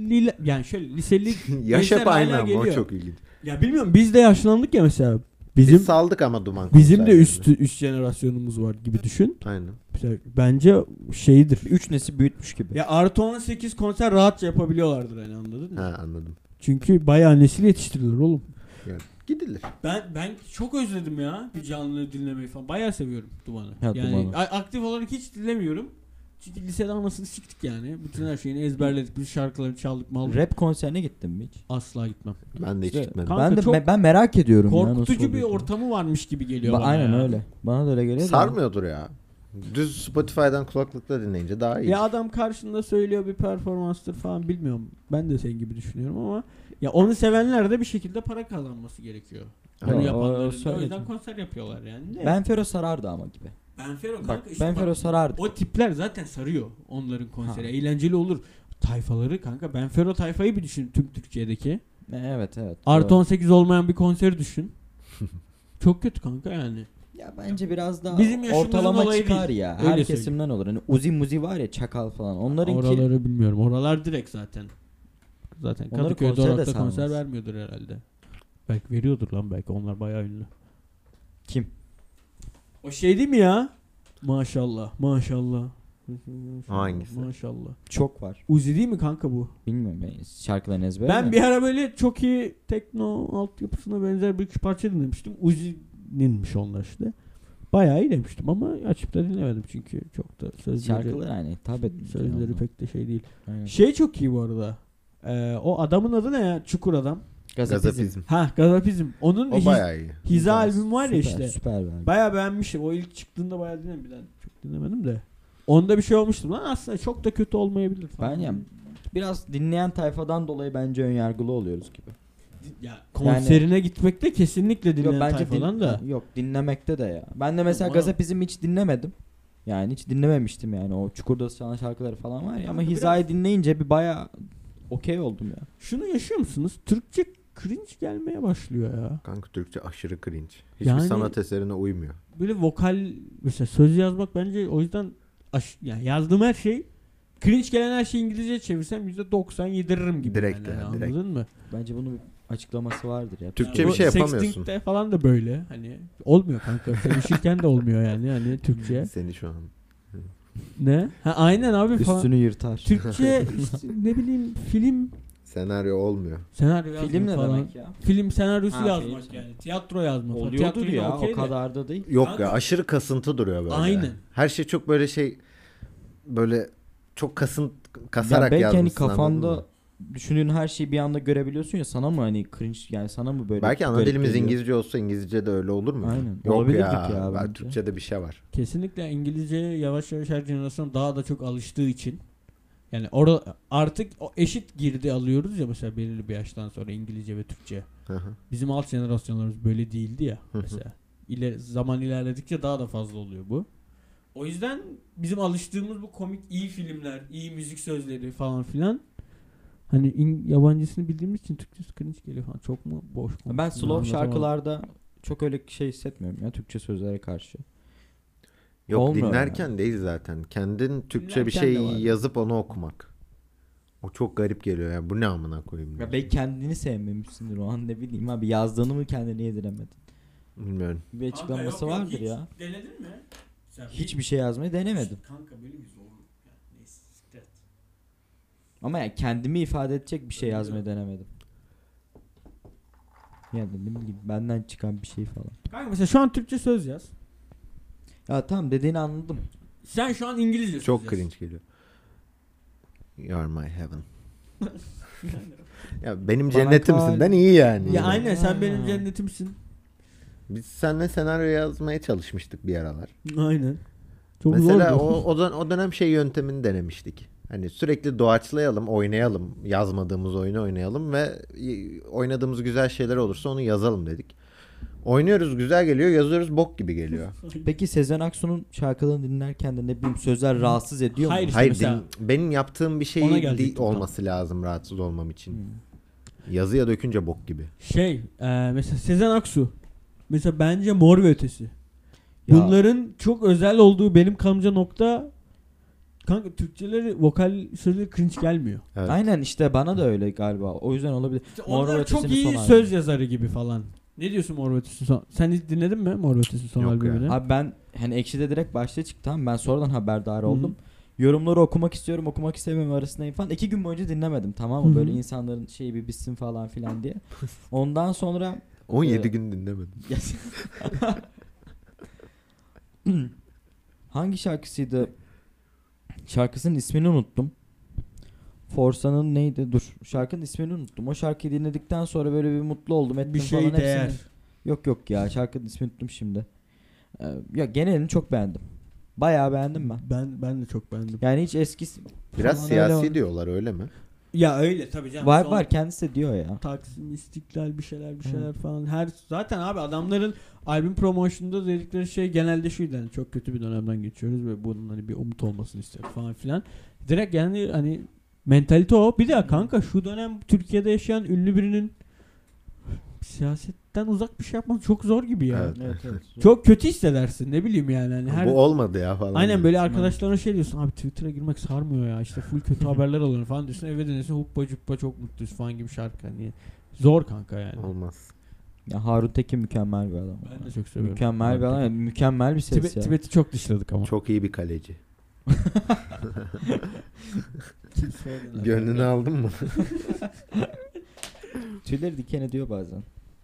[SPEAKER 2] liseli yani şöyle liseli
[SPEAKER 3] Yaş hep
[SPEAKER 2] gençler hala
[SPEAKER 3] aynı ama o
[SPEAKER 2] geliyor.
[SPEAKER 3] çok ilginç. E,
[SPEAKER 2] ya bilmiyorum biz de yaşlandık ya mesela. Bizim
[SPEAKER 3] Biz saldık ama duman
[SPEAKER 2] bizim de
[SPEAKER 3] konserlerini.
[SPEAKER 2] üst üst jenerasyonumuz var gibi düşün.
[SPEAKER 3] Aynen.
[SPEAKER 2] Mesela Bence şeyidir.
[SPEAKER 4] Üç nesil büyütmüş gibi.
[SPEAKER 2] Ya artı 18 konser rahatça yapabiliyorlardır hani anladın mı?
[SPEAKER 3] Ha anladım.
[SPEAKER 2] Çünkü bayağı nesil yetiştirilir oğlum.
[SPEAKER 3] Yani gidilir.
[SPEAKER 2] Ben ben çok özledim ya bir canlı dinlemeyi falan. Bayağı seviyorum Duman'ı.
[SPEAKER 4] Ha,
[SPEAKER 2] yani
[SPEAKER 4] Duman'ı.
[SPEAKER 2] a- aktif olarak hiç dinlemiyorum. Çünkü lisede anasını siktik yani. Bütün her şeyini ezberledik. Biz şarkıları çaldık mal.
[SPEAKER 4] Rap konserine gittim mi hiç?
[SPEAKER 2] Asla gitmem.
[SPEAKER 3] Ben de hiç
[SPEAKER 4] İşte
[SPEAKER 3] gitmedim.
[SPEAKER 2] Kanka
[SPEAKER 4] ben de
[SPEAKER 2] çok
[SPEAKER 4] me- ben merak ediyorum ya nasıl
[SPEAKER 2] Korkutucu bir
[SPEAKER 4] oluyor ki.
[SPEAKER 2] ortamı varmış gibi geliyor
[SPEAKER 4] Ba-
[SPEAKER 2] bana.
[SPEAKER 4] Aynen
[SPEAKER 2] ya.
[SPEAKER 4] öyle. Bana da öyle geliyor. da.
[SPEAKER 3] Sarmıyordur ya. Düz Spotify'dan kulaklıkla dinleyince daha iyi.
[SPEAKER 2] Ya adam karşında söylüyor bir performanstır falan bilmiyorum. Ben de senin gibi düşünüyorum ama ya onu sevenler de bir şekilde para kazanması gerekiyor.
[SPEAKER 4] Ya,
[SPEAKER 2] Onu
[SPEAKER 4] o-
[SPEAKER 3] Aynen.
[SPEAKER 2] yapanların.
[SPEAKER 4] o
[SPEAKER 2] da. O yüzden
[SPEAKER 4] söyledim.
[SPEAKER 2] konser yapıyorlar yani. De.
[SPEAKER 4] Benfero sarardı ama gibi.
[SPEAKER 2] Benfero kanka
[SPEAKER 4] Bak
[SPEAKER 2] işte bak-
[SPEAKER 4] Benfero sarardı.
[SPEAKER 2] O tipler zaten sarıyor onların konseri.
[SPEAKER 4] Ha.
[SPEAKER 2] Eğlenceli olur. Tayfaları kanka ben Fero tayfayı bir düşün tüm Türkiye'deki.
[SPEAKER 4] Evet evet.
[SPEAKER 2] Artı
[SPEAKER 4] doğru.
[SPEAKER 2] 18 olmayan bir konseri düşün. Çok kötü kanka yani.
[SPEAKER 4] Ya bence biraz daha
[SPEAKER 2] Bizim yaşımızın
[SPEAKER 4] ortalama
[SPEAKER 2] olayı
[SPEAKER 4] çıkar
[SPEAKER 2] değil.
[SPEAKER 4] ya.
[SPEAKER 2] Öyle
[SPEAKER 4] Her
[SPEAKER 2] söyleyeyim.
[SPEAKER 4] kesimden olur. Hani Uzi Muzi var ya Çakal falan. Onlarınki
[SPEAKER 2] Oraları bilmiyorum. Oralar direkt zaten. Zaten
[SPEAKER 4] Onları
[SPEAKER 2] Kadıköy
[SPEAKER 4] konsere de
[SPEAKER 2] Dorak'ta
[SPEAKER 4] sarmaz.
[SPEAKER 2] konser vermiyordur herhalde. Belki veriyordur lan belki. Onlar bayağı ünlü.
[SPEAKER 4] kim?
[SPEAKER 2] O şey değil mi ya? Maşallah. Maşallah.
[SPEAKER 3] Hangisi?
[SPEAKER 2] Maşallah.
[SPEAKER 4] Çok var.
[SPEAKER 2] Uzi değil mi kanka bu?
[SPEAKER 4] Bilmiyorum ben şarkıların ezberi.
[SPEAKER 2] Ben
[SPEAKER 4] de.
[SPEAKER 2] bir ara böyle çok iyi tekno altyapısına benzer bir iki parça dinlemiştim. Uzi'ninmiş onlar işte. Bayağı iyi demiştim ama açıp da dinlemedim çünkü çok da sözleri,
[SPEAKER 4] şarkılar aynı hitap etmiyor.
[SPEAKER 2] sözleri
[SPEAKER 4] yani.
[SPEAKER 2] pek de şey değil.
[SPEAKER 4] Aynen.
[SPEAKER 2] Şey çok iyi bu arada. Ee, o adamın adı ne ya? Çukur adam.
[SPEAKER 4] Gazapizm.
[SPEAKER 3] Gazapizm.
[SPEAKER 2] Ha Gazapizm. Onun
[SPEAKER 3] O
[SPEAKER 2] hiz-
[SPEAKER 3] bayağı iyi.
[SPEAKER 2] Hiza
[SPEAKER 4] Süper,
[SPEAKER 2] albüm var ya
[SPEAKER 4] süper,
[SPEAKER 2] işte.
[SPEAKER 4] Süper bence.
[SPEAKER 2] Bayağı beğenmiştim. O ilk çıktığında bayağı dinledim. Bir daha çok dinlemedim de. Onda bir şey olmuştum. Lan aslında çok da kötü olmayabilir falan.
[SPEAKER 4] Ben ya biraz dinleyen tayfadan dolayı bence önyargılı oluyoruz gibi.
[SPEAKER 2] Ya konserine gitmekte kesinlikle dinleyen
[SPEAKER 4] yok bence
[SPEAKER 2] tayfadan
[SPEAKER 4] din-
[SPEAKER 2] da.
[SPEAKER 4] Yok dinlemekte de ya. Ben de mesela
[SPEAKER 2] Yok, bana-
[SPEAKER 4] Gazapizm'i hiç dinlemedim. Yani hiç dinlememiştim yani o Çukur'da çalan şarkıları falan var ya ama Hiza'yı dinleyince bir baya okey oldum ya.
[SPEAKER 2] Şunu yaşıyor musunuz? Türkçe cringe gelmeye başlıyor ya.
[SPEAKER 3] Kanka Türkçe aşırı cringe. Hiçbir
[SPEAKER 2] Yani-
[SPEAKER 3] sanat eserine uymuyor.
[SPEAKER 2] Böyle vokal mesela söz yazmak bence o yüzden aş- yani yazdığım her şey Cringe gelen her şeyi İngilizce çevirsem %90 yediririm gibi.
[SPEAKER 3] Direkt
[SPEAKER 2] yani,
[SPEAKER 3] yani,
[SPEAKER 2] anladın
[SPEAKER 3] direkt.
[SPEAKER 2] mı?
[SPEAKER 4] Bence bunun bir açıklaması vardır ya.
[SPEAKER 3] Türkçe
[SPEAKER 2] Bu
[SPEAKER 3] bir şey yapamıyorsun.
[SPEAKER 2] Sexting'de falan da böyle. Hani olmuyor kanka. Sevişirken de olmuyor yani. Hani Türkçe.
[SPEAKER 3] Seni şu an.
[SPEAKER 2] ne? Ha, aynen abi falan.
[SPEAKER 4] Üstünü yırtar.
[SPEAKER 2] Türkçe işte ne bileyim film
[SPEAKER 3] Senaryo olmuyor.
[SPEAKER 2] senaryo yazmak
[SPEAKER 4] Film ne
[SPEAKER 2] falan.
[SPEAKER 4] demek ya?
[SPEAKER 2] Film senaryosu
[SPEAKER 4] Ha,
[SPEAKER 2] yazmak
[SPEAKER 4] film.
[SPEAKER 2] yani. Tiyatro yazmak. falan.
[SPEAKER 4] Oluyordur
[SPEAKER 2] Tiyatroyu da
[SPEAKER 4] ya
[SPEAKER 2] okey
[SPEAKER 4] o
[SPEAKER 2] de.
[SPEAKER 4] kadar da değil.
[SPEAKER 3] Yok
[SPEAKER 2] Kanka-
[SPEAKER 3] ya aşırı kasıntı duruyor böyle.
[SPEAKER 2] Aynen.
[SPEAKER 3] Her şey çok böyle şey böyle çok kasın
[SPEAKER 4] Ya
[SPEAKER 3] kasarak
[SPEAKER 4] belki
[SPEAKER 3] yazmışsın.
[SPEAKER 4] hani
[SPEAKER 3] anladın
[SPEAKER 4] kafanda
[SPEAKER 3] mı?
[SPEAKER 4] düşündüğün her şeyi bir anda görebiliyorsun ya sana mı hani cringe yani sana mı böyle
[SPEAKER 3] Belki ana
[SPEAKER 4] garip
[SPEAKER 3] dilimiz
[SPEAKER 4] geliyor?
[SPEAKER 3] İngilizce olsa İngilizce de öyle olur mu?
[SPEAKER 4] Aynen.
[SPEAKER 3] Yok
[SPEAKER 4] Olabilirdik
[SPEAKER 3] ya.
[SPEAKER 4] ya
[SPEAKER 3] ben
[SPEAKER 4] bence.
[SPEAKER 3] Türkçe'de bir şey var.
[SPEAKER 2] Kesinlikle İngilizceye yavaş yavaş her jenerasyon daha da çok alıştığı için yani orada artık o eşit girdi alıyoruz ya mesela belirli bir yaştan sonra İngilizce ve Türkçe.
[SPEAKER 3] Hı hı.
[SPEAKER 2] Bizim alt jenerasyonlarımız böyle değildi ya
[SPEAKER 3] hı.
[SPEAKER 2] mesela. İle, zaman ilerledikçe daha da fazla oluyor bu. O yüzden bizim alıştığımız bu komik iyi filmler, iyi müzik sözleri falan filan hani in- yabancısını bildiğimiz için Türkçesi cringe geliyor falan. Çok mu boş konuştum,
[SPEAKER 4] Ben slow
[SPEAKER 2] anlatamadım.
[SPEAKER 4] şarkılarda çok öyle şey hissetmiyorum ya Türkçe sözlere karşı.
[SPEAKER 3] Yok
[SPEAKER 4] Olmuyor
[SPEAKER 3] dinlerken değil zaten. Kendin Türkçe bir
[SPEAKER 4] Dinlerken de
[SPEAKER 3] şey
[SPEAKER 4] var.
[SPEAKER 3] yazıp onu okumak. O çok garip geliyor yani. Bu ne amına koyayım.
[SPEAKER 4] Ya
[SPEAKER 3] diyorum.
[SPEAKER 4] belki kendini sevmemişsindir o an ne bileyim abi yazdığını mı kendini yediremedin?
[SPEAKER 3] Bilmiyorum.
[SPEAKER 4] Bir
[SPEAKER 2] Kanka
[SPEAKER 4] açıklaması
[SPEAKER 2] yok, yok,
[SPEAKER 4] vardır
[SPEAKER 2] hiç
[SPEAKER 4] ya.
[SPEAKER 2] Denedin mi? Sen
[SPEAKER 4] Hiçbir şey yazmayı denemedim.
[SPEAKER 2] Kanka böyle bir zorluk ya. Neyse siktir et.
[SPEAKER 4] Ama ya kendimi ifade edecek bir şey
[SPEAKER 2] Öyle
[SPEAKER 4] yazmayı denemedim. Yani ne bileyim benden çıkan bir şey falan.
[SPEAKER 2] Kanka mesela şu an Türkçe söz yaz.
[SPEAKER 4] Ya tamam dediğini anladım.
[SPEAKER 2] Sen şu an İngilizce söz
[SPEAKER 3] Çok
[SPEAKER 2] yaz.
[SPEAKER 3] cringe geliyor. You are my heaven. ya benim
[SPEAKER 4] Bana
[SPEAKER 3] cennetimsinden
[SPEAKER 4] kal-
[SPEAKER 3] iyi yani.
[SPEAKER 2] Ya aynen sen
[SPEAKER 4] Ha.
[SPEAKER 2] benim cennetimsin.
[SPEAKER 3] Biz seninle senaryo yazmaya çalışmıştık bir aralar.
[SPEAKER 2] Aynen. Çok
[SPEAKER 3] Mesela
[SPEAKER 2] zordu.
[SPEAKER 3] o, o, dön- o dönem şey yöntemini denemiştik. Hani sürekli doğaçlayalım, oynayalım. Yazmadığımız oyunu oynayalım ve y- oynadığımız güzel şeyler olursa onu yazalım dedik. Oynuyoruz güzel geliyor, yazıyoruz bok gibi geliyor.
[SPEAKER 4] Peki Sezen Aksu'nun şarkılarını dinlerken de ne bileyim sözler rahatsız ediyor mu?
[SPEAKER 2] Hayır. İşte
[SPEAKER 3] Hayır
[SPEAKER 2] mesela-
[SPEAKER 3] din- benim yaptığım bir şey
[SPEAKER 2] Ona
[SPEAKER 3] di-
[SPEAKER 2] gelecektim, tamam.
[SPEAKER 3] olması lazım rahatsız olmam için. Yazıya dökünce bok gibi.
[SPEAKER 2] Şey e, mesela Sezen Aksu. Mesela bence Mor ve Ötesi.
[SPEAKER 4] Ya,
[SPEAKER 2] Bunların çok özel olduğu benim kanımca nokta kanka Türkçeleri vokal sözleri cringe gelmiyor.
[SPEAKER 3] Evet.
[SPEAKER 4] Aynen işte bana da öyle galiba. O yüzden olabilir. Mor ve
[SPEAKER 2] Onlar çok
[SPEAKER 4] Ötesi'nin son
[SPEAKER 2] iyi
[SPEAKER 4] albümü.
[SPEAKER 2] söz yazarı gibi falan. Ne diyorsun Mor ve Ötesi'nin son? Sen hiç dinledin mi Mor ve Ötesi'nin son
[SPEAKER 3] Yok ya.
[SPEAKER 2] albümünü?
[SPEAKER 4] Abi ben hani ekşide direkt başta çıktım. Ben sonradan haberdar
[SPEAKER 2] Hı.
[SPEAKER 4] oldum. Yorumları okumak istiyorum, okumak istemiyorum arasındayım falan. İki gün boyunca dinlemedim tamam mı?
[SPEAKER 2] Hı hı.
[SPEAKER 4] Böyle insanların şeyi bir bitsin falan filan diye. Ondan sonra
[SPEAKER 3] 17
[SPEAKER 4] Evet.
[SPEAKER 3] gün dinlemedim.
[SPEAKER 4] Ya- Hangi şarkısıydı? Şarkısının ismini unuttum. Forsa'nın neydi? Dur. Şarkının ismini unuttum. O şarkıyı dinledikten sonra böyle bir mutlu oldum. Ettim
[SPEAKER 2] bir şey
[SPEAKER 4] falan
[SPEAKER 2] değer.
[SPEAKER 4] hepsini. Yok yok ya. Şarkının ismini unuttum şimdi. Ee, ya genelini çok beğendim. Bayağı beğendim ben.
[SPEAKER 2] Ben ben de çok beğendim.
[SPEAKER 4] Yani hiç eskisi
[SPEAKER 3] Biraz
[SPEAKER 4] falan öyle
[SPEAKER 3] siyasi
[SPEAKER 4] var.
[SPEAKER 3] diyorlar öyle mi?
[SPEAKER 2] Ya öyle tabii canım.
[SPEAKER 4] Var
[SPEAKER 2] Son
[SPEAKER 4] var kendisi de diyor ya.
[SPEAKER 2] Taksim, İstiklal bir şeyler bir
[SPEAKER 4] Evet.
[SPEAKER 2] şeyler falan. Her zaten abi adamların albüm promotion'da dedikleri şey genelde şuydu yani çok kötü bir dönemden geçiyoruz ve bunun hani bir umut olmasını istiyor falan filan. Direkt yani hani mentalite o. Bir de kanka şu dönem Türkiye'de yaşayan ünlü birinin siyasetten uzak bir şey yapması çok zor gibi ya.
[SPEAKER 3] Evet.
[SPEAKER 2] Çok kötü hissedersin ne bileyim yani. Hani her
[SPEAKER 3] Bu olmadı ya falan.
[SPEAKER 2] Aynen
[SPEAKER 3] diyor.
[SPEAKER 2] böyle arkadaşlarına şey diyorsun abi Twitter'a girmek sarmıyor ya işte full kötü haberler alıyorum falan diyorsun eve dönüyorsun huppa cuppa çok mutluyuz falan gibi şarkı hani zor kanka yani.
[SPEAKER 3] Olmaz.
[SPEAKER 4] Ya Harun Tekin mükemmel bir adam.
[SPEAKER 2] Ben de çok seviyorum.
[SPEAKER 4] Mükemmel bir adam. Mükemmel bir ses
[SPEAKER 2] Tibet,
[SPEAKER 4] ya.
[SPEAKER 2] Tibet'i çok dışladık ama.
[SPEAKER 3] Çok iyi bir kaleci. Gönlünü aldın mı?
[SPEAKER 4] Tüyleri diken ediyor bazen.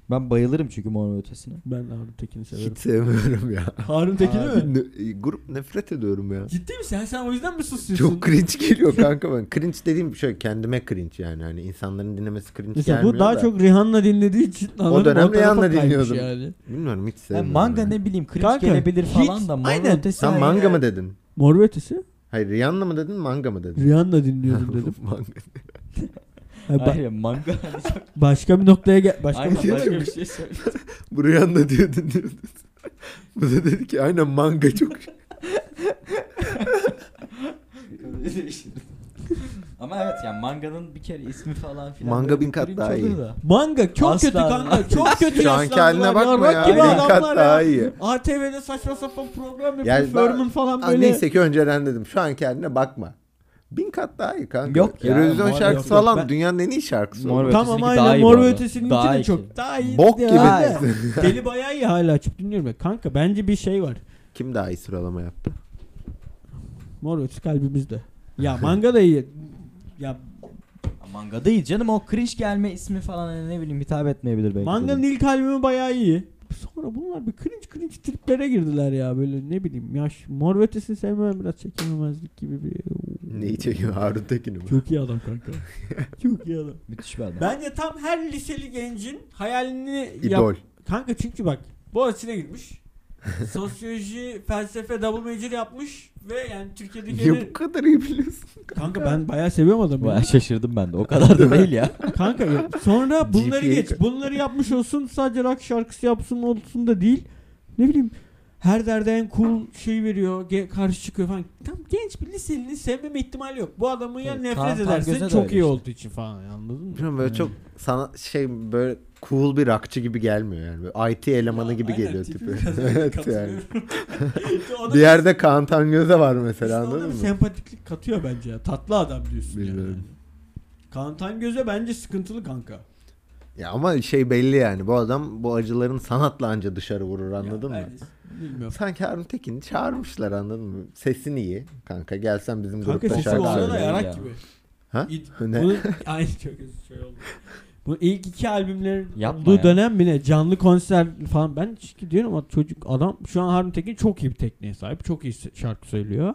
[SPEAKER 4] Ben bayılırım çünkü mor ve ötesine.
[SPEAKER 2] Ben Harun Tekin'i severim.
[SPEAKER 3] Hiç sevmiyorum ya.
[SPEAKER 2] Harun Tekin'i mi?
[SPEAKER 3] Ne- e, grup nefret ediyorum ya.
[SPEAKER 2] Ciddi misin? Ha, Sen o yüzden mi susuyorsun?
[SPEAKER 3] Çok cringe geliyor kanka ben. Cringe dediğim şöyle kendime cringe yani. Hani insanların dinlemesi cringe
[SPEAKER 2] Mesela
[SPEAKER 3] gelmiyor
[SPEAKER 2] bu daha
[SPEAKER 3] da.
[SPEAKER 2] çok Rihanna dinlediği için anladın mı?
[SPEAKER 3] dönem
[SPEAKER 2] tarafa
[SPEAKER 3] Rihanna
[SPEAKER 2] kaymış
[SPEAKER 3] dinliyordum.
[SPEAKER 2] Yani.
[SPEAKER 3] Bilmiyorum hiç
[SPEAKER 4] Ya
[SPEAKER 3] sevmiyorum.
[SPEAKER 4] manga
[SPEAKER 3] yani.
[SPEAKER 4] ne bileyim cringe
[SPEAKER 2] Kanka,
[SPEAKER 4] gelebilir
[SPEAKER 2] hiç-
[SPEAKER 4] falan da mor ve
[SPEAKER 2] aynen.
[SPEAKER 4] ötesi.
[SPEAKER 3] Sen manga mı dedin?
[SPEAKER 2] Mor ve ötesi?
[SPEAKER 3] Hayır Rihanna mı dedin manga mı dedin?
[SPEAKER 2] Rihanna dinliyordum dedim.
[SPEAKER 3] manga.
[SPEAKER 2] Ha, ba-
[SPEAKER 4] Hayır manga.
[SPEAKER 2] başka bir noktaya gel. Başka
[SPEAKER 4] Aynen,
[SPEAKER 2] bir
[SPEAKER 4] başka bir şey söyle.
[SPEAKER 3] Bu Rihanna diyordun diyordun. bu da dedi ki aynen manga çok.
[SPEAKER 4] Ama evet yani manganın bir kere ismi falan filan.
[SPEAKER 3] Manga
[SPEAKER 4] böyle
[SPEAKER 3] bin
[SPEAKER 4] bir
[SPEAKER 3] kat
[SPEAKER 4] cringe
[SPEAKER 3] daha iyi.
[SPEAKER 4] olur da.
[SPEAKER 2] Manga çok
[SPEAKER 4] Asla
[SPEAKER 2] kötü kanka.
[SPEAKER 4] anlamaz.
[SPEAKER 2] Çok kötü
[SPEAKER 3] Şu anki
[SPEAKER 2] yaşlandılar
[SPEAKER 3] haline bakma ya.
[SPEAKER 2] Rak gibi
[SPEAKER 3] Bin kat
[SPEAKER 2] adamlar
[SPEAKER 3] daha
[SPEAKER 2] ya.
[SPEAKER 3] iyi.
[SPEAKER 2] ATV'de saçma sapan program
[SPEAKER 3] Yani
[SPEAKER 2] yapıyor.
[SPEAKER 3] ben-
[SPEAKER 2] Furman falan
[SPEAKER 3] Aa,
[SPEAKER 2] böyle.
[SPEAKER 3] Neyse ki önceden dedim. Şu anki haline bakma. Bin kat daha iyi kanka.
[SPEAKER 4] Yok ya,
[SPEAKER 3] Eurovision
[SPEAKER 4] mor-
[SPEAKER 3] şarkısı
[SPEAKER 4] yok, yok.
[SPEAKER 3] falan
[SPEAKER 4] Ben-
[SPEAKER 3] dünyanın en iyi şarkısı.
[SPEAKER 4] Mor
[SPEAKER 3] olur.
[SPEAKER 4] ve
[SPEAKER 2] Tamam
[SPEAKER 4] Ötesininki daha
[SPEAKER 2] aynen
[SPEAKER 4] iyi
[SPEAKER 2] Mor
[SPEAKER 4] bu
[SPEAKER 2] ve
[SPEAKER 4] arada.
[SPEAKER 2] ötesinin
[SPEAKER 4] Daha
[SPEAKER 2] içi de
[SPEAKER 4] iyi.
[SPEAKER 2] çok daha iyi.
[SPEAKER 3] Bok
[SPEAKER 2] Ya,
[SPEAKER 3] gibi.
[SPEAKER 2] aynen. Deli bayağı iyi hala açıp dinliyorum. ben. Kanka bence bir şey var.
[SPEAKER 3] Kim daha iyi sıralama yaptı?
[SPEAKER 2] Mor ve ötesi kalbimizde. Ya manga da iyi. Ya
[SPEAKER 4] Manga değil canım o cringe gelme ismi falan hani ne bileyim hitap etmeyebilir belki.
[SPEAKER 2] manganın
[SPEAKER 4] dedim.
[SPEAKER 2] ilk albümü bayağı iyi. Sonra bunlar bir cringe cringe triplere girdiler ya böyle ne bileyim yaş mor ve ötesini sevmem biraz çekememezlik gibi bir
[SPEAKER 3] Neyi çekiyor? Harun Tekin'i mi?
[SPEAKER 2] çok iyi adam kanka çok iyi adam
[SPEAKER 4] Müthiş bir adam.
[SPEAKER 2] bence tam her liseli gencin hayalini yap-
[SPEAKER 3] İdol.
[SPEAKER 2] Kanka çünkü bak Boğaziçi'ne gitmiş. Sosyoloji, felsefe double major yapmış ve yani Türkiye'deki
[SPEAKER 3] Ya bu kadar iyi biliyorsun.
[SPEAKER 2] kanka ben bayağı seviyorum adamı. ya.
[SPEAKER 4] Bayağı şaşırdım ben de o kadar da değil ya.
[SPEAKER 2] kanka ya. sonra bunları
[SPEAKER 3] GPA
[SPEAKER 2] geç. Bunları yapmış olsun sadece rock şarkısı yapsın olsun da değil. Ne bileyim her derde en cool şey veriyor. ge- karşı çıkıyor falan. Tam genç bir liselinin sevmeme ihtimali yok. Bu adamı ya
[SPEAKER 4] Tabii,
[SPEAKER 2] nefret
[SPEAKER 4] Kaan Tangöz'e
[SPEAKER 2] edersin
[SPEAKER 4] de
[SPEAKER 2] çok
[SPEAKER 4] öyle
[SPEAKER 2] iyi
[SPEAKER 4] işte.
[SPEAKER 2] olduğu için falan anladın mı?
[SPEAKER 3] Bilmiyorum böyle çok sana şey böyle cool bir rockçı gibi gelmiyor yani. Böyle IT elemanı gibi
[SPEAKER 2] Aynen,
[SPEAKER 3] geliyor
[SPEAKER 2] tipi
[SPEAKER 3] tipi.
[SPEAKER 2] biraz öyle
[SPEAKER 3] evet yani.
[SPEAKER 2] katılıyorum. Ona
[SPEAKER 3] Bir yerde Kaan Tangöz'e var
[SPEAKER 2] İşte
[SPEAKER 3] mesela
[SPEAKER 2] ona şey-
[SPEAKER 3] anladın
[SPEAKER 2] bir
[SPEAKER 3] mı?
[SPEAKER 2] sempatiklik katıyor bence ya. Tatlı adam diyorsun yani.
[SPEAKER 3] Bilmiyorum.
[SPEAKER 2] Kantan göze bence sıkıntılı kanka.
[SPEAKER 3] Ya ama şey belli yani bu adam bu acıların sanatla anca dışarı vurur anladın
[SPEAKER 2] Ya
[SPEAKER 3] mı?
[SPEAKER 2] bence- Bilmiyorum.
[SPEAKER 3] Sanki Harun Tekin'i çağırmışlar anladın mı? Sesin iyi. Kanka gelsen bizim
[SPEAKER 2] Kanka
[SPEAKER 3] grupta
[SPEAKER 2] sesi
[SPEAKER 3] şarkı
[SPEAKER 2] bu
[SPEAKER 4] olsa
[SPEAKER 2] arada
[SPEAKER 3] söyle.
[SPEAKER 4] ya.
[SPEAKER 2] yarak
[SPEAKER 4] ya.
[SPEAKER 2] gibi.
[SPEAKER 3] Ha?
[SPEAKER 2] İd-
[SPEAKER 3] Ne?
[SPEAKER 2] Bunun, ay çok özür şey oldu. Bu ilk iki albümlerin
[SPEAKER 4] Yapma
[SPEAKER 2] olduğu
[SPEAKER 4] ya.
[SPEAKER 2] dönem bile canlı konser falan ben çünkü diyorum ama çocuk adam şu an Harun Tekin çok iyi bir tekniğe sahip. Çok iyi se- şarkı söylüyor.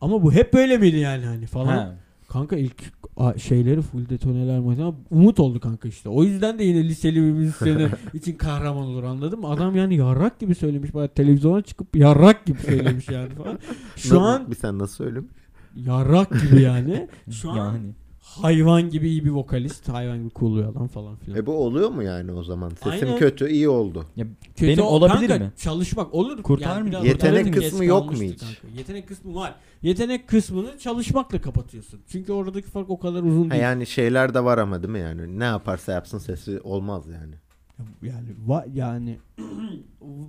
[SPEAKER 2] Ama bu hep böyle miydi yani hani falan.
[SPEAKER 4] Ha.
[SPEAKER 2] Kanka ilk a- şeyleri full detoneler mesela umut oldu kanka işte. O yüzden de yine liseli bir müzisyen için kahraman olur anladın mı? Adam yani yarrak gibi söylemiş. Bayağı televizyona çıkıp yarrak gibi söylemiş yani falan. Şu
[SPEAKER 3] Na-
[SPEAKER 2] an
[SPEAKER 3] bir sen nasıl söylüyorsun?
[SPEAKER 2] yarrak gibi yani. Şu an
[SPEAKER 4] yani.
[SPEAKER 2] hayvan gibi iyi bir vokalist. Hayvan gibi cool bir adam falan filan.
[SPEAKER 3] E bu oluyor mu yani o zaman? Sesim
[SPEAKER 2] Aynen.
[SPEAKER 3] kötü iyi oldu.
[SPEAKER 2] Kötü
[SPEAKER 4] Benim
[SPEAKER 2] o-
[SPEAKER 4] olabilir
[SPEAKER 2] kanka,
[SPEAKER 4] mi?
[SPEAKER 2] Çalışmak olur.
[SPEAKER 4] Kurtar
[SPEAKER 2] Yani
[SPEAKER 4] mı?
[SPEAKER 2] biraz
[SPEAKER 3] Yetenek
[SPEAKER 2] kurtarırdım. Geç
[SPEAKER 3] kısmı yok mu
[SPEAKER 2] kalmıştı
[SPEAKER 3] hiç?
[SPEAKER 2] kanka. Yetenek kısmı var. Yetenek kısmını çalışmakla kapatıyorsun. Çünkü oradaki fark o kadar uzun
[SPEAKER 3] Ha
[SPEAKER 2] değil.
[SPEAKER 3] yani şeyler de var ama değil mi yani? Ne yaparsa yapsın sesi olmaz yani.
[SPEAKER 2] Yani va- yani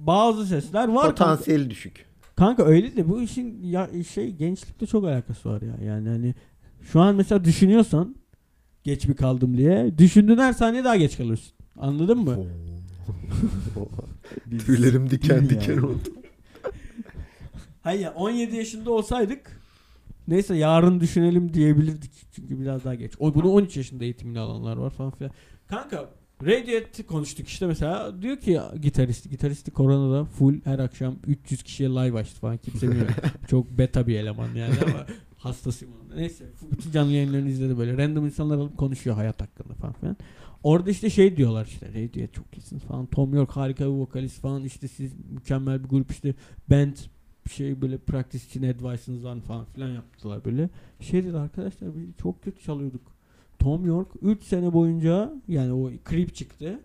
[SPEAKER 2] bazı sesler var kanka.
[SPEAKER 3] Potansiyeli düşük.
[SPEAKER 2] Kanka öyle de bu işin ya şey gençlikte çok alakası var ya. Yani hani şu an mesela düşünüyorsan geç mi kaldım diye düşündüğün her saniye daha geç kalıyorsun. Anladın mı?
[SPEAKER 3] Tüylerim diken
[SPEAKER 4] Yani.
[SPEAKER 3] diken oldu.
[SPEAKER 2] Hayır ya, 17 yaşında olsaydık neyse yarın düşünelim diyebilirdik. Çünkü biraz daha geç. O bunu 13 yaşında eğitimini alanlar var falan filan. Kanka Radiohead'i konuştuk işte mesela diyor ki gitaristi gitaristi koronada full her akşam 300 kişiye live açtı falan kimse bilmiyor. Çok beta bir eleman yani ama hastasıyım onun. Neyse f- bütün canlı yayınlarını izledi böyle. Random insanlar alıp konuşuyor hayat hakkında falan filan. Orada işte şey diyorlar işte Radiohead çok iyisiniz falan. Tom York harika bir vokalist falan işte siz mükemmel bir grup işte band şey böyle practice için advice'ınız var mı falan filan yaptılar böyle. Şey dedi arkadaşlar biz çok kötü çalıyorduk. Tom York 3 sene boyunca yani o klip çıktı.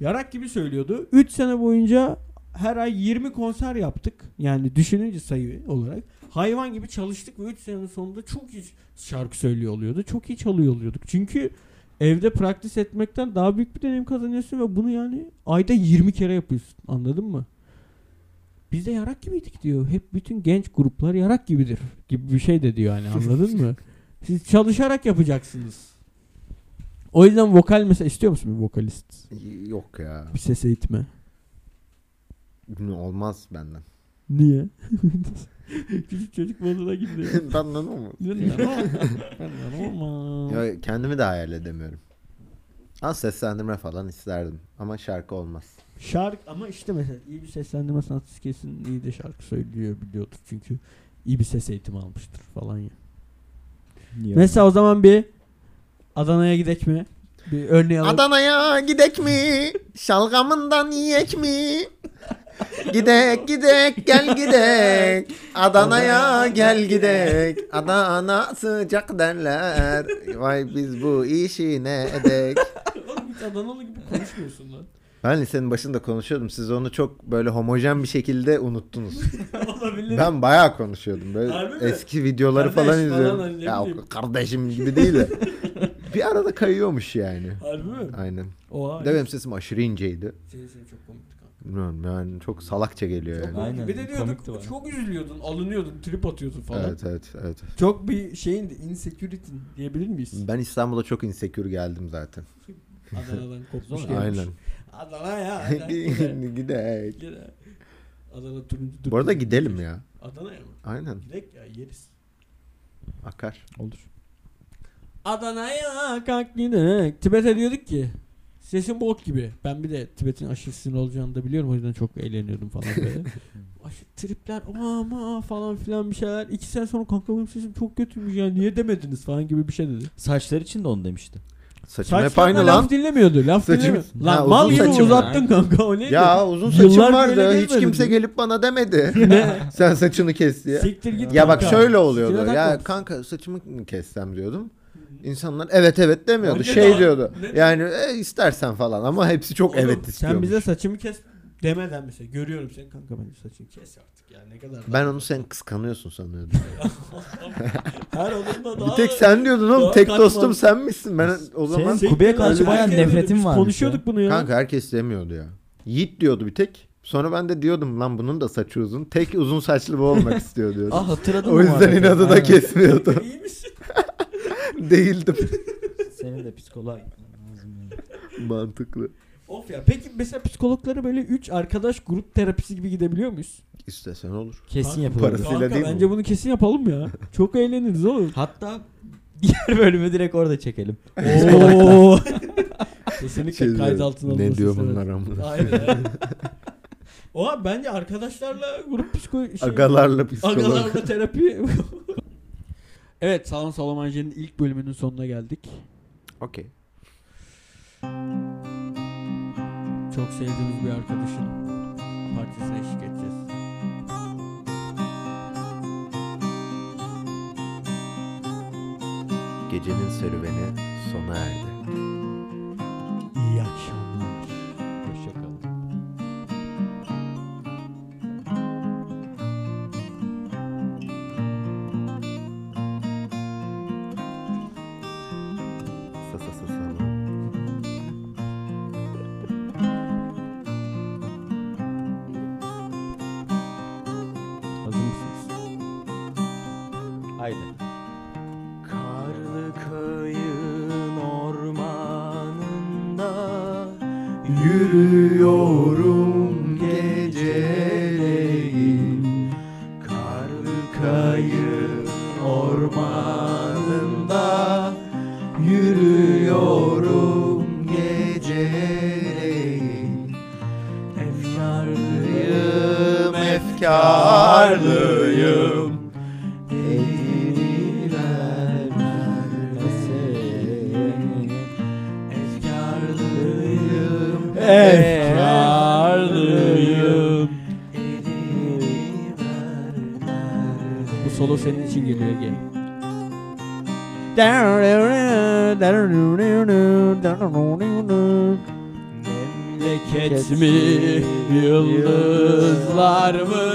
[SPEAKER 2] Yarak gibi söylüyordu. 3 sene boyunca her ay 20 konser yaptık. Yani düşününce sayı olarak. Hayvan gibi çalıştık ve 3 senenin sonunda çok iyi şarkı söylüyor oluyordu. Çok iyi çalıyor oluyorduk. Çünkü evde praktis etmekten daha büyük bir deneyim kazanıyorsun ve bunu yani ayda 20 kere yapıyorsun. Anladın mı? Biz de yarak gibiydik diyor. Hep bütün genç gruplar yarak gibidir gibi bir şey de diyor yani anladın mı? Siz çalışarak yapacaksınız. O yüzden vokal mesela istiyor musun bir vokalist?
[SPEAKER 3] Yok ya.
[SPEAKER 2] Bir ses eğitimi.
[SPEAKER 3] Olmaz benden.
[SPEAKER 2] Niye? Küçük çocuk moduna girdi.
[SPEAKER 3] benden olmaz. Ya kendimi de hayal edemiyorum. Az seslendirme falan isterdim. Ama şarkı olmaz.
[SPEAKER 2] Şarkı ama işte mesela iyi bir seslendirme sanatçısı kesin iyi de şarkı söylüyor biliyordur çünkü iyi bir ses eğitimi almıştır falan ya.
[SPEAKER 4] Ya.
[SPEAKER 2] Mesela o zaman bir Adana'ya gidek mi? Bir örneği alalım.
[SPEAKER 3] Adana'ya gidek mi? Şalgamından yiyek mi? Gidek gidek gel gidek Adana'ya gel gidek Adana sıcak derler Vay biz bu işi ne edek
[SPEAKER 2] Oğlum hiç Adanalı gibi konuşmuyorsun lan.
[SPEAKER 3] Ben lisenin başında konuşuyordum siz onu çok böyle homojen bir şekilde unuttunuz
[SPEAKER 2] Olabilir.
[SPEAKER 3] Ben bayağı konuşuyordum böyle
[SPEAKER 2] Harbi mi?
[SPEAKER 3] eski
[SPEAKER 2] Kardeş
[SPEAKER 3] videoları falan
[SPEAKER 2] falan
[SPEAKER 3] izliyorum
[SPEAKER 2] hani ne
[SPEAKER 3] Ya o
[SPEAKER 2] bileyim.
[SPEAKER 3] kardeşim gibi değil de Bir arada kayıyormuş yani
[SPEAKER 2] Harbi mi?
[SPEAKER 3] Aynen
[SPEAKER 2] Oha.
[SPEAKER 3] Bir de benim sesim aşırı inceydi
[SPEAKER 2] Senin senin çok komikti kanka.
[SPEAKER 3] Bilmiyorum yani çok salakça geliyor yani.
[SPEAKER 4] Aynen,
[SPEAKER 2] Bir de
[SPEAKER 4] komikti
[SPEAKER 2] diyorduk
[SPEAKER 4] baya.
[SPEAKER 2] çok üzülüyordun, alınıyordun, trip atıyordun falan.
[SPEAKER 3] Evet evet evet.
[SPEAKER 2] Çok bir şeyin insecurity diyebilir miyiz?
[SPEAKER 3] Ben İstanbul'a çok insekür geldim zaten.
[SPEAKER 2] Adana'dan kopmuş
[SPEAKER 4] Zor.
[SPEAKER 2] gelmiş.
[SPEAKER 3] Hmm. Aynen.
[SPEAKER 2] Adana ya. Adana.
[SPEAKER 3] Gidelim.
[SPEAKER 2] Gidelim. Adana turuncu
[SPEAKER 3] Bu arada gidelim ya.
[SPEAKER 2] Adana'ya mı?
[SPEAKER 3] Aynen.
[SPEAKER 2] Gidek ya yeriz.
[SPEAKER 3] Akar.
[SPEAKER 4] Olur.
[SPEAKER 2] Adana'ya kalk gidelim. Tibet'e diyorduk ki sesin bok gibi. Ben bir de Tibet'in aşısının olacağını da biliyorum. O yüzden çok eğleniyordum falan böyle. Aşı tripler ama falan filan bir şeyler. İki sene sonra kanka benim sesim çok kötüymüş ya. Niye demediniz falan gibi bir şey dedi.
[SPEAKER 4] Saçlar için de onu demişti.
[SPEAKER 3] Saçım hep
[SPEAKER 2] Saçlarına
[SPEAKER 3] aynı
[SPEAKER 2] laf
[SPEAKER 3] lan.
[SPEAKER 2] dinlemiyordu. Laf
[SPEAKER 3] Saçım-
[SPEAKER 2] dinlemiyordu.
[SPEAKER 3] Ha,
[SPEAKER 2] Lan
[SPEAKER 3] uzun
[SPEAKER 2] mal gibi
[SPEAKER 3] saçım
[SPEAKER 2] uzattın
[SPEAKER 4] yani.
[SPEAKER 2] kanka o neydi?
[SPEAKER 3] Ya uzun saçım
[SPEAKER 2] Yıllar
[SPEAKER 3] vardı.
[SPEAKER 2] böyle
[SPEAKER 3] Hiç
[SPEAKER 2] gelmedi
[SPEAKER 3] kimse
[SPEAKER 2] mi?
[SPEAKER 3] gelip bana demedi.
[SPEAKER 2] Ne?
[SPEAKER 3] Sen saçını kes diye.
[SPEAKER 2] Siktir git.
[SPEAKER 3] Ya bak
[SPEAKER 2] kanka.
[SPEAKER 3] şöyle oluyordu.
[SPEAKER 2] Siktir
[SPEAKER 3] Ya
[SPEAKER 2] adam.
[SPEAKER 3] kanka saçımı mı kessem diyordum. İnsanlar evet evet demiyordu.
[SPEAKER 2] Anne
[SPEAKER 3] şey
[SPEAKER 2] de-
[SPEAKER 3] diyordu.
[SPEAKER 2] ne-
[SPEAKER 3] Yani "E, istersen falan ama hepsi çok
[SPEAKER 2] Oğlum,
[SPEAKER 3] evet istiyor.
[SPEAKER 2] Sen bize saçımı kes demeden mesela görüyorum seni kanka ben saçını kes artık ya ne kadar.
[SPEAKER 3] Ben onu sen kıskanıyorsun sanıyordum.
[SPEAKER 2] Her adımda daha
[SPEAKER 3] Bir tek sen diyordun oğlum.
[SPEAKER 2] daha
[SPEAKER 3] tek
[SPEAKER 2] katman-
[SPEAKER 3] dostum sen misin? Ben o
[SPEAKER 4] Sen-
[SPEAKER 3] zaman
[SPEAKER 4] sen- Kubeye karşı
[SPEAKER 2] Öyle-
[SPEAKER 4] bayağı
[SPEAKER 2] Biz
[SPEAKER 4] nefretim varmış
[SPEAKER 2] Konuşuyorduk bunu ya.
[SPEAKER 3] Kanka herkes demiyordu ya. Yiğit diyordu bir tek. Sonra ben de diyordum lan bunun da saçı uzun. Tek uzun saçlı bu olmak istiyor diyordum.
[SPEAKER 4] Ah hatırladım.
[SPEAKER 3] o yüzden
[SPEAKER 4] muhabbeti.
[SPEAKER 3] inadı da
[SPEAKER 4] Aynen.
[SPEAKER 3] kesmiyordu.
[SPEAKER 2] İyi misin?
[SPEAKER 3] Değildim.
[SPEAKER 4] Senin de psikoloğa gitmen lazım ya.
[SPEAKER 3] Mantıklı.
[SPEAKER 2] Of ya. Peki mesela psikologlara böyle 3 arkadaş grup terapisi gibi gidebiliyor muyuz?
[SPEAKER 3] İstesen olur.
[SPEAKER 4] Kesin
[SPEAKER 2] Kanka,
[SPEAKER 4] yapılır.
[SPEAKER 3] parası- Sila
[SPEAKER 2] Kanka
[SPEAKER 3] değil mi
[SPEAKER 2] bence
[SPEAKER 3] bu?
[SPEAKER 2] bunu kesin yapalım ya. Çok eğleniriz oğlum.
[SPEAKER 4] Hatta diğer bölümü direkt orada çekelim.
[SPEAKER 2] Oo. Kesinlikle
[SPEAKER 3] Şey
[SPEAKER 2] kayıt
[SPEAKER 3] diyor,
[SPEAKER 2] altına alınması.
[SPEAKER 3] Ne diyor
[SPEAKER 2] istemez.
[SPEAKER 3] bunlar amına.
[SPEAKER 2] Aynen. Oha bence arkadaşlarla grup psikoloji şey,
[SPEAKER 3] Agalarla psikolog.
[SPEAKER 2] agalarla terapi. evet Salon Salomance'nin ilk bölümünün sonuna geldik.
[SPEAKER 3] Okey.
[SPEAKER 2] Çok sevdiğimiz bir arkadaşın partisine eşlik edeceğiz.
[SPEAKER 3] Gecenin serüveni sona erdi.
[SPEAKER 2] İyi akşamlar.
[SPEAKER 4] Hoşçakalın.
[SPEAKER 3] Sa sa sa sa.
[SPEAKER 2] Hazır mısınız?
[SPEAKER 4] Haydi.
[SPEAKER 1] Karlı köyün ormanında Yürüyorum geceleyin Karlı köyün ormanında Yürüyorum geceleyin Efkarlıyım, efkarlıyım Eğdiler vermeseye Efkarlıyım Efkarlıyım
[SPEAKER 2] Bu solo senin için geliyor Ege. Memleket mi, yıldızlar mı,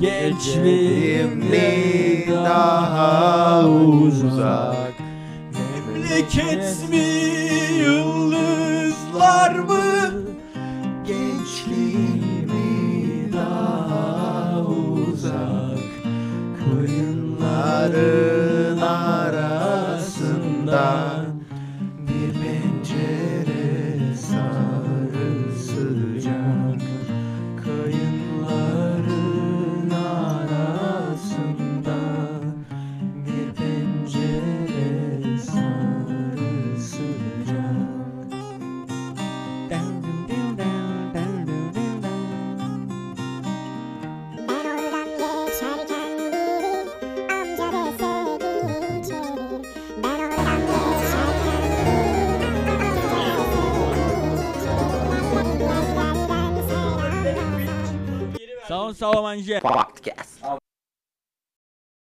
[SPEAKER 2] gençliğim mi daha uzak? Memleket mi, yıldızlar mı,
[SPEAKER 1] Gençliğimi daha uzak
[SPEAKER 3] Koyunların
[SPEAKER 1] arasında Bir pencere sarı sıcak Kayınların arasında Bir pencere sarı sıcak
[SPEAKER 6] Ben oradan geçerken biri amca dese gir içeri. Ben oradan geçerken biri amca dese gir içeri. Ellerden selamlar.
[SPEAKER 2] Sağ ol Salomanje.